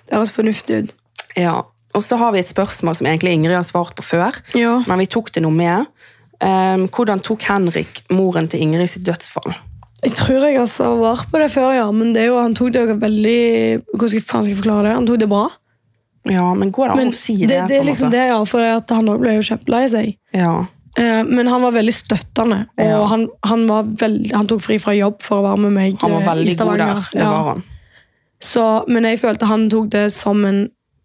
Det høres fornuftig ut.
Ja, og så har vi et spørsmål som egentlig Ingrid har svart på før,
Ja.
men vi tok det noe med. Ehm, hvordan tok Henrik moren til Ingrid sitt dødsfall?
Jeg tror jeg altså var på det før, ja, men det er jo, han tok det jo veldig Hvordan skal, faen skal jeg forklare det? Han tok det bra.
Ja, men går det an
Men
å si det?
det,
på
er
en
liksom
måte?
det, ja, for at han òg ble jo kjempelei seg.
Ja.
Eh, Men han var veldig støttende, og
Ja.
han, han, var veld, han tok fri fra jobb for å være med meg
Han var
eh, i
veldig god
Stavanger.
der. Det
Ja.
var han.
Så, men jeg følte han tok det som en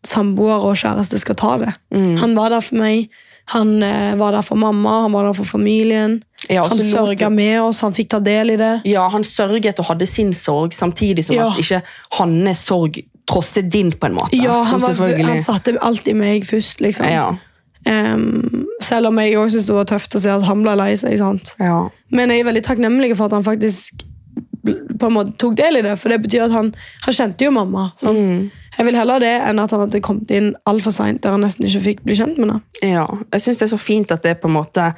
samboer og kjæreste skal ta det.
Mm.
Han var der for meg, han eh, var der for mamma, han var der for familien.
Ja, altså, og
han
så lot-
sørga med oss, han fikk ta del i det.
Ja, han sørget og hadde sin sorg, samtidig som
Ja.
at ikke hans sorg trosset din, på en måte.
Ja, han,
som
var,
selvfølgelig-
han satte alltid meg først, liksom.
Ja,
Em, selv om jeg også syntes det var tøft å se at han ble lei seg. sant?
ja.
Men jeg er veldig takknemlig for at han faktisk bl- på en måte tok del i det, for det betyr at han, han kjente jo mamma. sant? Jeg vil heller det enn at han hadde kommet inn altfor seint der han nesten ikke fikk bli kjent med henne.
ja. Jeg syns det er så fint at det er på en måte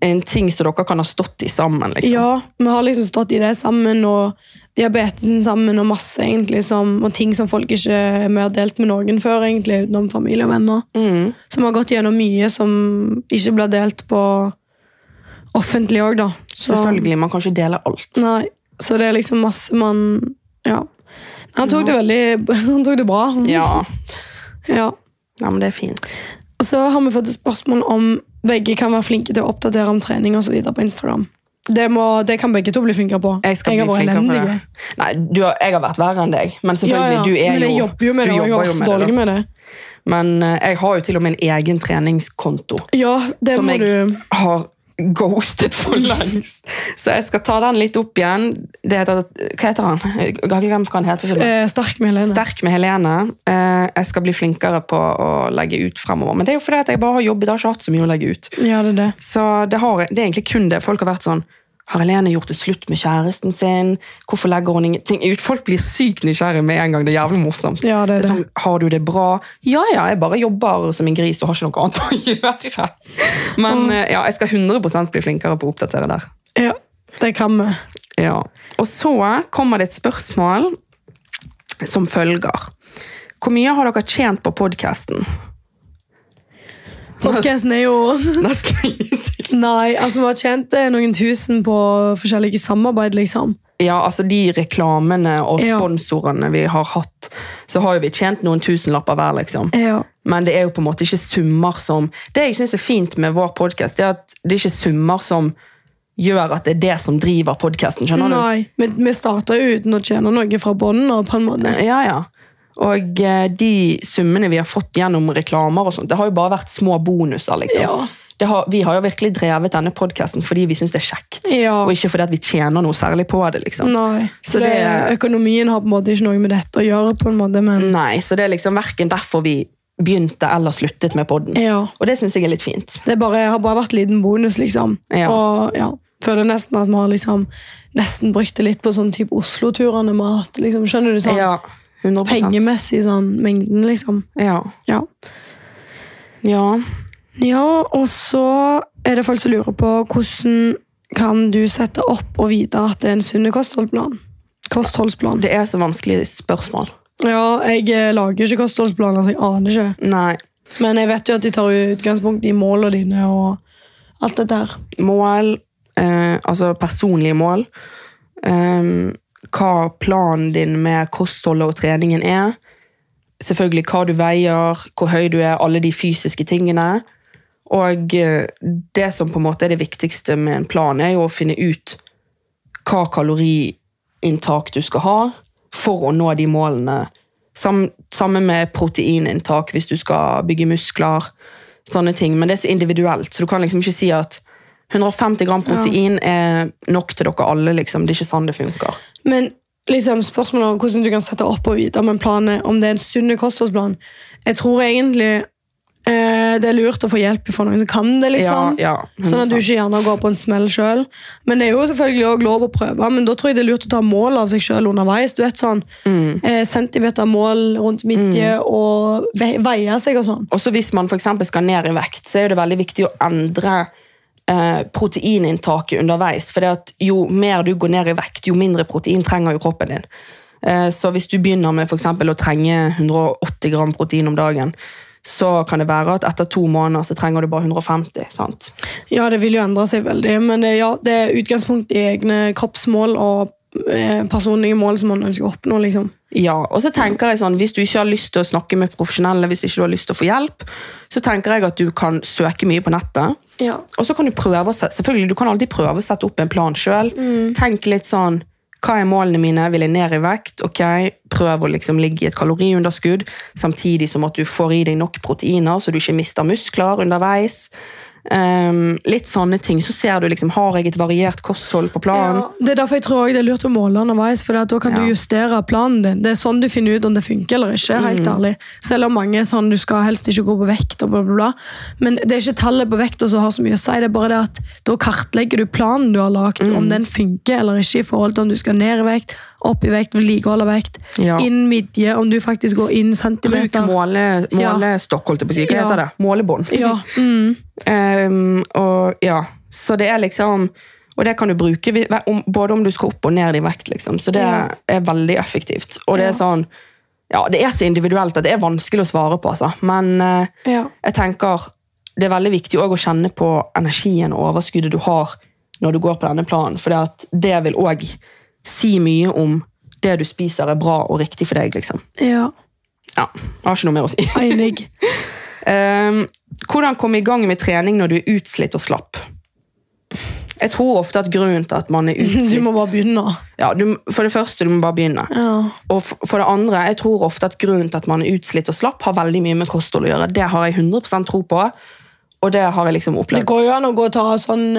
en ting som dere kan ha stått i sammen. liksom.
Ja, vi har liksom stått i det sammen, og diabetesen sammen, og masse egentlig som, og ting som folk ikke vi har delt med noen før, egentlig, utenom familie og venner. Som har gått gjennom mye som ikke blir delt på offentlig òg, da. Så-
Selvfølgelig, man kan ikke dele alt.
Nei, så det er liksom masse man Ja. Han tok det veldig <laughs> Han tok det bra.
Ja,
Ja.
<laughs> ja men det er fint.
Og så har vi fått et spørsmål om begge kan være flinke til å oppdatere om trening og så videre på Instagram. Det, må, det kan begge to bli flinkere på.
Jeg skal
har
bli
vært
flinkere på
elendige.
det. Nei, du har, jeg har vært verre enn deg, men
Ja,
selvfølgelig,
ja.
du er
Men jeg
jo
jobber jo med
du
det, og jeg
jobber
var
jo
så
med det,
dårlig
da.
med det.
Men eh, jeg har jo til og med en egen treningskonto,
Ja, det
som
må
jeg
du
har ghostet for
<laughs>
lengst. Så jeg skal ta den litt opp igjen. Det heter, hva heter han? Jeg har glemt hva han heter.
eh, Sterk med Helene.
Sterk med Helene. Eh, Jeg skal bli flinkere på å legge ut fremover. Men det er jo fordi at jeg bare har jobbet, jeg har ikke hatt så mye å legge ut.
Ja, det er det.
Så det, har, det er egentlig kun det. Folk har vært sånn Har Helene gjort det slutt med kjæresten sin? Hvorfor legger hun ingenting ut? Folk blir sykt nysgjerrige med en gang. Det er jævlig morsomt.
Ja, det er det.
sånn, har du det bra? Ja, ja, jeg bare jobber som en gris og har ikke noe annet å <laughs> gjøre. Men eh, ja, jeg skal 100 bli flinkere på å oppdatere der.
Ja, det kan vi.
Ja. Og så kommer det et spørsmål som følger. Hvor mye har dere tjent på
<laughs>
podkasten?
Podcasten er jo <laughs>
Nesten ingenting.
Nei, altså vi har tjent eh, noen tusen på forskjellige samarbeid, liksom.
Ja, altså de reklamene og
Ja.
sponsorene vi har hatt, så har jo vi tjent noen tusenlapper hver, liksom.
Ja.
Men det er jo på en måte ikke summer som Det jeg syns er fint med vår podkast, er at det er ikke summer som gjør at det er det som driver podkasten, skjønner du?
Nei, men vi starta jo uten å tjene noe fra bunnen av, på en måte.
Ja, ja. Og eh, de summene vi har fått gjennom reklamer og sånt, det har jo bare vært små bonuser, liksom.
Ja.
Det har, vi har jo virkelig drevet denne podkasten fordi vi syns det er kjekt,
Ja.
og ikke fordi at vi tjener noe særlig på det, liksom.
Nei, så
Så
det,
det-
Økonomien har på en måte ikke noe med dette å gjøre, på en måte, men
Nei, så det er liksom hverken derfor vi begynte eller sluttet med podden.
ja.
Og det synes jeg er litt fint.
Det er bare, har bare vært liten bonus, liksom.
Ja.
Og ja, føler nesten at vi har liksom nesten brukt det litt på sånn type Oslo-turene vi har hatt. Liksom. Skjønner du? sånn
100
Pengemessig sånn mengden, liksom.
Ja.
Ja.
ja.
Ja, og så er det folk som lurer på hvordan kan du sette opp og vite at det er en sunn kostholdsplan? Kostholdsplan.
Det er så vanskelig spørsmål.
Ja, jeg eh, lager jo ikke kostholdsplaner, så jeg aner ikke.
Nei.
Men jeg vet jo at de tar utgangspunkt i målene dine og alt dette her.
Mål, eh, altså personlige mål. ehm, hva planen din med kostholdet og treningen er. Selvfølgelig hva du veier, hvor høy du er, alle de fysiske tingene. Og eh, det som på en måte er det viktigste med en plan, er jo å finne ut hva kaloriinntak du skal ha for å nå de målene. Sam, sammen med proteininntak hvis du skal bygge muskler. Sånne ting. Men det er så individuelt, så du kan liksom ikke si at 150 gram protein er nok til dere alle. liksom. Det er ikke sånn det funker.
Men liksom, spørsmålet om hvordan du kan sette opp og vite om en plan er, om det er en sunn kostholdsplan Jeg tror egentlig eh, det er lurt å få hjelp fra noen som kan det. liksom.
Ja, ja,
Sånn at du ikke gjerne går på en smell sjøl. Men det er jo selvfølgelig også lov å prøve, men da tror jeg det er lurt å ta mål av seg sjøl underveis. Du vet sånn,
Mm.
eh, Centimeter mål rundt midje og ve veie seg og sånn.
Også hvis man for eksempel skal ned i vekt, så er jo det veldig viktig å endre eh, proteininntaket underveis. For jo mer du går ned i vekt, jo mindre protein trenger jo kroppen din. Eh, så hvis du begynner med for eksempel å trenge 180 gram protein om dagen, så kan det være at etter to måneder så trenger du bare 150. sant?
Ja, det vil jo endre seg veldig, men det, ja, det er utgangspunkt i egne kroppsmål og eh, personlige mål som man ønsker å oppnå. liksom.
Ja, og så tenker jeg sånn, Hvis du ikke har lyst til å snakke med profesjonelle, hvis ikke du har lyst til å få hjelp, så tenker jeg at du kan søke mye på nettet.
Ja.
Og så kan du prøve å sette, selvfølgelig, du kan alltid prøve å sette opp en plan sjøl.
Mm.
Tenk litt sånn Hva er målene mine? Vil jeg ned i vekt? Ok, Prøv å liksom ligge i et kaloriunderskudd, samtidig som at du får i deg nok proteiner, så du ikke mister muskler underveis. Ehm, litt sånne ting. Så ser du liksom, Har jeg et variert kosthold på planen?
Ja, det er derfor jeg tror også det er lurt å måle underveis, for at da kan
Ja.
du justere planen din. Det er sånn du finner ut om det funker eller ikke. helt
Mm.
ærlig. Selv om mange er sånn du skal helst ikke gå på vekt og bla, bla, bla. Men det er ikke tallet på vekta som har så mye å si, det er bare det at da kartlegger du planen du har lagd,
Mm.
om den funker eller ikke i forhold til om du skal ned i vekt, opp i vekt, vedlikehold av vekt,
Ja.
inn midje, om du faktisk går inn
Bruk
centimeter.
måle, målestokk, holdt jeg på å si. Hva
Ja.
heter det? Målebånd. <laughs>
Ja, mm.
Ehm, og ja, så det er liksom og det kan du bruke vi- om, både om du skal opp og ned i vekt. liksom, Så det
Ja.
er veldig effektivt. Og det er
Ja.
sånn ja, det er så individuelt at det er vanskelig å svare på. altså. Men eh,
Ja.
jeg tenker det er veldig viktig også å kjenne på energien og overskuddet du har når du går på denne planen. For det, at det vil òg si mye om det du spiser er bra og riktig for deg. liksom.
ja.
Ja, Jeg har ikke noe mer å si. <laughs>
Enig.
Ehm, hvordan komme i gang med trening når du er utslitt og slapp? Jeg tror ofte at grunnen til at man
<laughs>
er
Du må
utslitt
bare begynne.
ja, du, For det første, du må bare begynne.
Ja.
Og f- for det andre, jeg tror ofte at grunnen til at man er utslitt og slapp, har veldig mye med kosthold å gjøre. Det har jeg 100 tro på, og det har jeg liksom
Det
opplevd.
går jo an å gå og ta sånn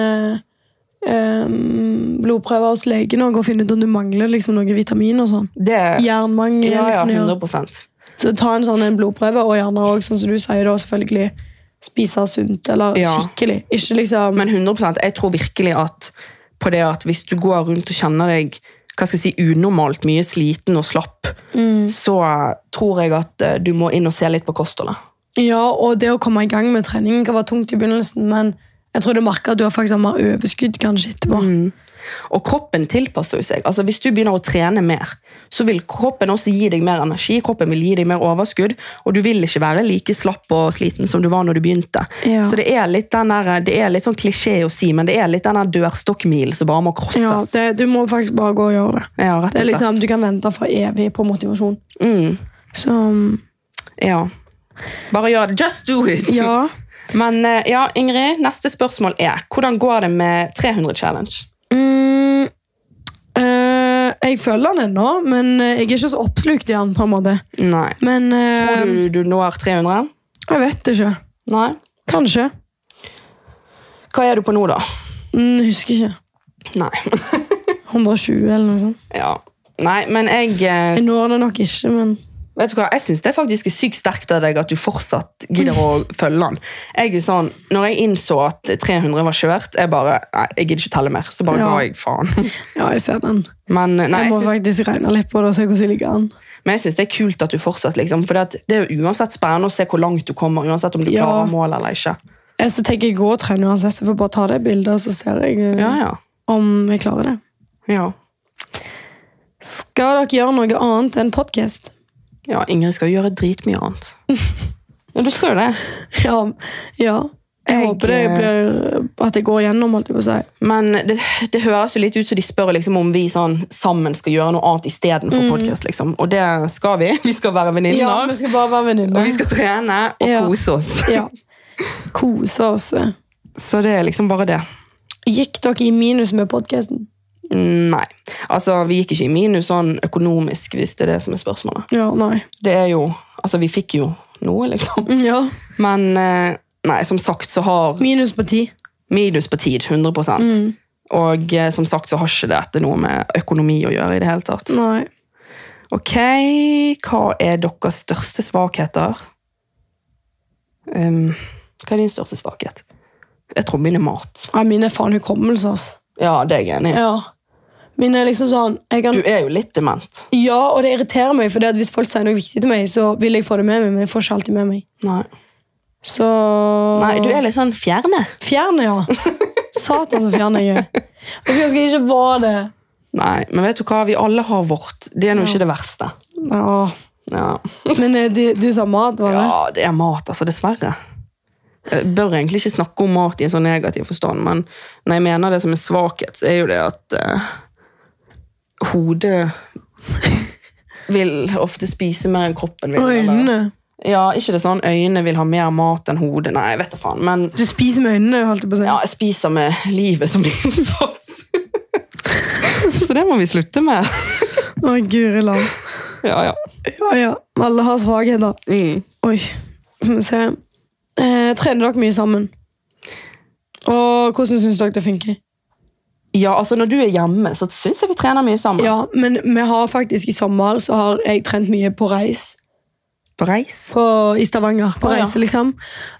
eh, em, blodprøver hos legen og gå og finne ut om du mangler liksom, noen vitamin og sånn.
Det, ja,
Jernmangel.
ja,
kan du gjøre.
100
Så ta en sånn en blodprøve, og gjerne også, sånn som du sier, da, selvfølgelig spise sunt eller
Ja.
skikkelig. Ikke liksom
Men 100 jeg tror virkelig at på det at hvis du går rundt og kjenner deg hva skal jeg si, unormalt mye sliten og slapp,
Mm.
så tror jeg at eh, du må inn og se litt på kostholdet.
Ja, og det å komme i gang med treningen kan være tungt i begynnelsen, men jeg tror du merker at du har faktisk mer overskudd kanskje etterpå.
Mm, Og kroppen tilpasser jo seg. Altså, hvis du begynner å trene mer, så vil kroppen også gi deg mer energi, kroppen vil gi deg mer overskudd, og du vil ikke være like slapp og sliten som du var når du begynte.
Ja.
Så det er litt den der, det er litt sånn klisjé å si, men det er litt den der dørstokkmil som bare må krosses.
Ja, det, du må faktisk bare gå og gjøre det.
Ja, rett og
det er
slett.
liksom, du kan vente for evig på motivasjon.
Mm,
Så
ja. Bare gjør det. Just do it!
ja.
Men eh, ja, Ingrid, neste spørsmål er, hvordan går det med 300 challenge?
Mm, eh, jeg følger den ennå, men eh, jeg er ikke så oppslukt i den. på en måte.
Nei.
Men eh,
Tror du du når 300?
jeg vet ikke.
Nei.
Kanskje.
Hva er du på nå da?
Mm, husker ikke.
Nei. <laughs>
120 eller noe sånt.
Ja. Nei, men jeg eh,
Jeg når det nok ikke, men
Vet du hva, jeg syns det er faktisk sykt sterkt av deg at du fortsatt gidder å følge den. Jeg er sånn, når jeg innså at 300 var kjørt, jeg bare Nei, jeg gidder ikke telle mer. Så bare
Ja.
ga jeg faen. <laughs>
ja, jeg ser den.
Men, nei,
Jeg
jeg
må
syns-
faktisk regne litt på det og se hvordan jeg ligger an.
men jeg syns det er kult at du fortsatt, liksom. For det at det er jo uansett spennende å se hvor langt du kommer, uansett om du
Ja.
klarer målet eller ikke.
Eh, Så tenker jeg gå og trene uansett, så jeg får bare ta det bildet, og så ser jeg eh,
Ja, ja.
om jeg klarer det.
ja.
Skal dere gjøre noe annet enn podkast?
Ja, Ingrid skal gjøre dritmye
<laughs>
annet. Ja, du skal jo det.
Ja. ja. Jeg,
Jeg,
håper det
eh,
blir at jeg går gjennom, holdt jeg på å si.
Men det, det høres jo litt ut som de spør liksom, om vi sånn, sammen skal gjøre noe annet istedenfor for podkast. Liksom. Og det skal vi. <laughs> Vi skal være
Mm. Ja,
venninner.
vi skal bare være
og vi
venninner.
skal trene og
Ja.
kose oss.
<laughs> Ja. Kose oss.
Så det er liksom bare det.
Gikk dere i minus med podkasten?
Nei. Altså, vi gikk ikke i minus sånn økonomisk, hvis det er det som er spørsmålet.
Ja, nei.
Det er jo Altså, vi fikk jo noe, liksom.
Ja.
Men eh, nei, som sagt så har
Minus på ti.
minus på tid 100 Og eh, som sagt så har ikke dette noe med økonomi å gjøre i det hele tatt.
Nei.
Ok, hva er deres største svakheter? Ehm, hva er din største svakhet? Jeg tror min er mat.
Nei, Min er faen hukommelse, altså.
Ja, det er jeg enig i.
Ja. Min er liksom sånn jeg kan,
Du er jo litt dement.
Ja, og det irriterer meg, for hvis folk sier noe viktig til meg, så vil jeg få det med meg, men jeg får ikke alltid med meg.
Nei.
Så
Nei, du er litt sånn fjerne.
Fjerne,
<laughs>
ja. Satan, så fjerne jeg er. Og så skal jeg ikke være det.
Nei, men vet du hva? Vi alle har vårt. Det er nå ikke det verste.
Ja.
Ja.
Men eh, du, du sa mat, var det?
Ja, det er mat, altså. Dessverre. Jeg bør egentlig ikke snakke om mat i en sånn negativ forstand, men når jeg mener det som en svakhet, så er jo det at eh, hodet <laughs> vil ofte spise mer enn kroppen vil.
Og
eller-
øynene.
Ja, ikke det sånn. Øynene vil ha mer mat enn hodet. Nei, jeg vet da faen. Men
Du spiser med øynene, holdt jeg på å si.
ja, jeg spiser med livet som <laughs> innsats. så det må vi slutte med. <laughs>
Å, guri land.
ja, ja.
Ja, ja. Alle har svakheter.
Mm.
Oi, skal vi se. Eh, trener dere mye sammen? Og hvordan syns dere det funker?
Ja, altså Når du er hjemme, så syns jeg vi trener mye sammen.
Ja, men vi har faktisk i sommer så har jeg trent mye på reis.
På reis.
På, I Stavanger. På
Å, ja.
reise, liksom.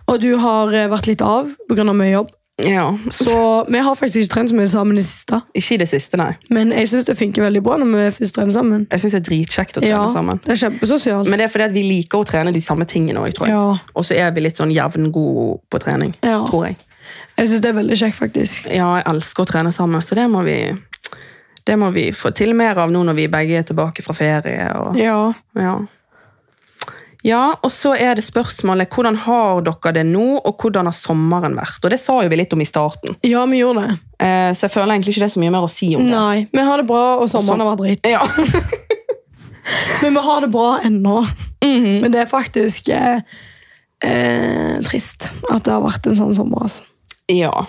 Og du har eh, vært litt av pga. mye jobb.
Ja,
Så vi har faktisk ikke trent så mye sammen i det siste.
Ikke i det siste, nei.
Men jeg syns det funker veldig bra når vi først trener sammen.
Jeg syns det er dritkjekt å trene
Ja,
sammen.
Det er kjempesosialt.
Men det er fordi at vi liker å trene de samme tingene òg, tror jeg.
Ja.
Og så er vi litt sånn jevngode på trening,
Ja.
tror jeg.
Jeg syns det er veldig kjekt, faktisk.
Ja, jeg elsker å trene sammen, så det må vi det må vi få til mer av nå når vi begge er tilbake fra ferie. Og,
Ja.
ja. ja, og så er det spørsmålet hvordan har dere det nå, og hvordan har sommeren vært? Og det sa jo vi litt om i starten,
ja, vi gjorde det.
eh, så jeg føler egentlig ikke det er så mye mer å si om det.
Nei, vi har det bra, og sommeren har vært dritt.
Ja.
Men vi har det bra ennå. Men det er faktisk eh, eh, trist at det har vært en sånn sommer. altså.
Ja.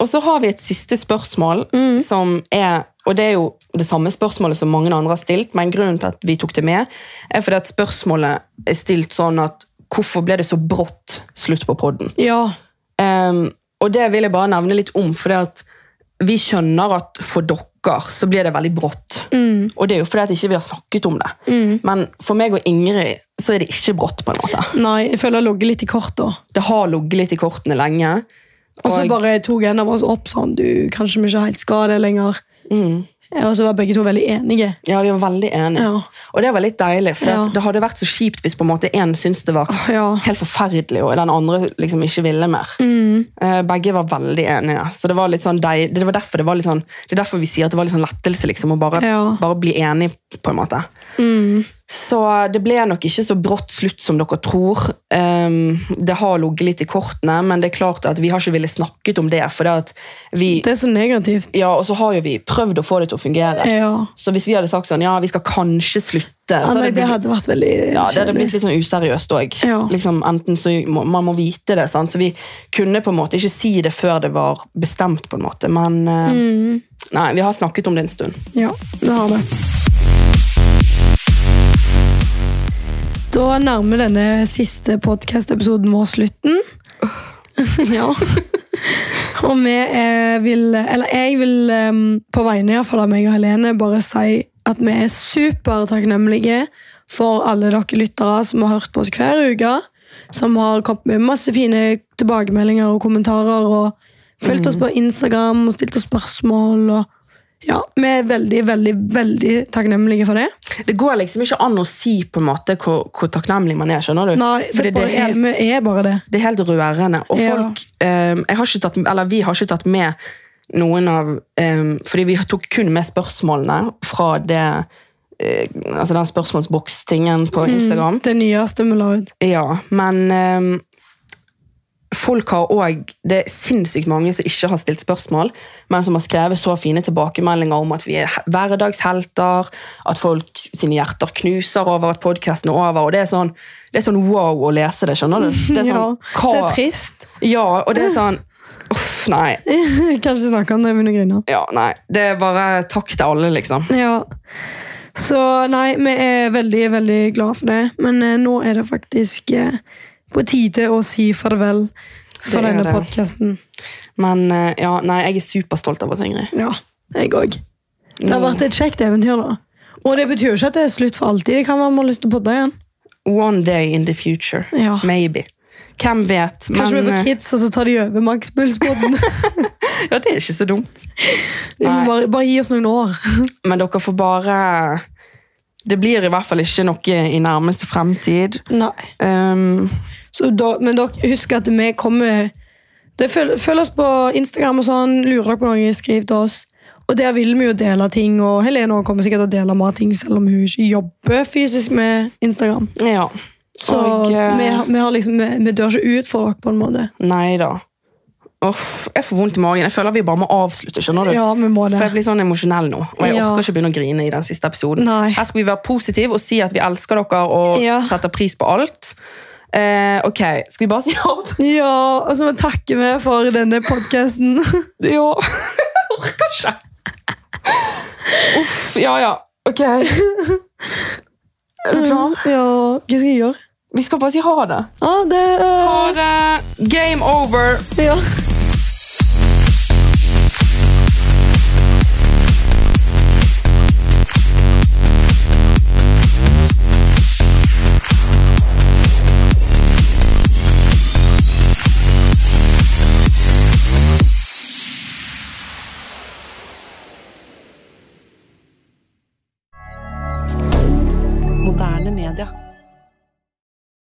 Og så har vi et siste spørsmål,
Mm.
som er Og det er jo det samme spørsmålet som mange andre har stilt, men grunnen til at vi tok det med, er fordi at spørsmålet er stilt sånn at Hvorfor ble det så brått slutt på podden?
Ja.
Ehm, og det vil jeg bare nevne litt om, fordi at vi skjønner at for dere så blir det veldig brått.
Mm.
Og det er jo fordi at ikke vi har snakket om det. Men for meg og Ingrid så er det ikke brått, på en måte.
Nei, jeg føler jeg har ligget litt i korta.
Det har ligget litt i kortene lenge.
Og så bare tok en av oss opp sånn Du, kanskje vi ikke helt skal det lenger. Og så var begge to veldig enige.
Ja, vi var veldig enige.
Mhm. Ja.
Og det var litt deilig, for
Ja.
at det hadde vært så kjipt hvis på en måte en syntes det var
Ja.
helt forferdelig, og den andre liksom ikke ville mer.
Mm.
Eh, Begge var veldig enige, så det var litt sånn deil... det var derfor det var litt sånn det er derfor vi sier at det var litt sånn lettelse, liksom, å bare,
Ja. Mm.
bare bli enig, på en måte. Så det ble nok ikke så brått slutt som dere tror. Ehm, det har ligget litt i kortene, men det er klart at vi har ikke ville snakket om det, for det at vi
Det er så negativt.
ja, og så har jo vi prøvd å få det til å fungere.
Ja.
Så hvis vi hadde sagt sånn, ja, vi skal kanskje slutte,
Ja,
så
nei, det
hadde det blitt,
hadde vært veldig
ja, det hadde blitt litt sånn useriøst òg.
Ja.
Liksom, enten så må, man må vite det, sant? så vi kunne på en måte ikke si det før det var bestemt, på en måte. Men eh,
Mm.
nei, vi har snakket om det en stund.
Ja, det har det. Da nærmer denne siste podcast-episoden vår slutten. ja. Og vi eh, vil, eller jeg vil em, på vegne i hvert fall av meg og Helene bare si at vi er supertakknemlige for alle dere lyttere som har hørt på oss hver uke, som har kommet med masse fine
Mm.
tilbakemeldinger og kommentarer og fulgt oss på Instagram og stilt oss spørsmål og Ja, vi er veldig, veldig, veldig takknemlige for det.
Det går liksom ikke an å si på en måte hvor, hvor takknemlig man er. skjønner du?
Nei,
Fordi
det,
det er helt-
vi er bare det.
Det er helt rørende. Og
Ja.
folk eh, jeg har ikke tatt, Eller vi har ikke tatt med noen av eh, Fordi vi tok kun med spørsmålene fra det eh, Altså den spørsmålsbokstingen på
Mm.
Instagram.
Det nyeste vi la ut.
Ja, men eh, Folk har òg Det er sinnssykt mange som ikke har stilt spørsmål, men som har skrevet så fine tilbakemeldinger om at vi er he- hverdagshelter, at folk sine hjerter knuser over at podkasten er over. og det er, sånn, det er sånn wow å lese det, skjønner du? Det er sånn,
<laughs> ja, det er trist. <laughs>
ja, og det er sånn Uff, nei.
Kanskje snakke om det, men å grine.
Ja, nei. Det er bare takk til alle, liksom.
Ja. Så nei, vi er veldig, veldig glad for det. Men eh, nå er det faktisk eh, på tide å si farvel for
Det er
denne
det.
podkasten.
Men eh, ja, nei, jeg er superstolt av oss, Ingrid.
Ja, jeg òg. Det har
Nå-
vært et kjekt eventyr, da. Og det betyr jo ikke at det er slutt for alltid. Det kan være vi har lyst til å podde igjen.
One day in the future.
Ja.
Maybe. Hvem vet?
Ah. Kanskje vi
eh,
får kids, og så tar de over makspulspodden.
<laughs> Ja, det er ikke så dumt.
Vi må
Nei.
bare, bare gi oss noen år.
Men dere får bare Det blir i hvert fall ikke noe i nærmeste fremtid.
Nei.
Um,
Så da, men dere husk at vi kommer det føl, Følg oss på Instagram og sånn. Lurer dere på noe, skriv til oss. Og der vil vi jo dele ting, og Helene også kommer sikkert til å dele mer ting, selv om hun ikke jobber fysisk med Instagram.
ja.
Så
Og, eh,
vi, har- vi, har liksom, vi, vi dør ikke ut for dere, på en måte.
Nei da. Uff, jeg får vondt i magen. Jeg føler vi bare må avslutte. skjønner du?
Ja, vi må
For jeg
det.
blir sånn emosjonell nå, og jeg
Ja.
orker ikke begynne å grine i den siste episoden.
Nei.
Her skal vi være positive og si at vi elsker dere og
Ja.
setter pris på alt. Eh, ok, skal vi bare si
<laughs>
alt?
Ja, og så takker vi for denne podkasten.
Ja. Jeg orker ikke. Uff, ja ja. Ok. Er du klar?
<laughs> Ja, hva skal jeg gjøre?
Vi skal bare si ha det.
Ah, det
Ha
eh,
det! Game over!
Ja.
Moderne media.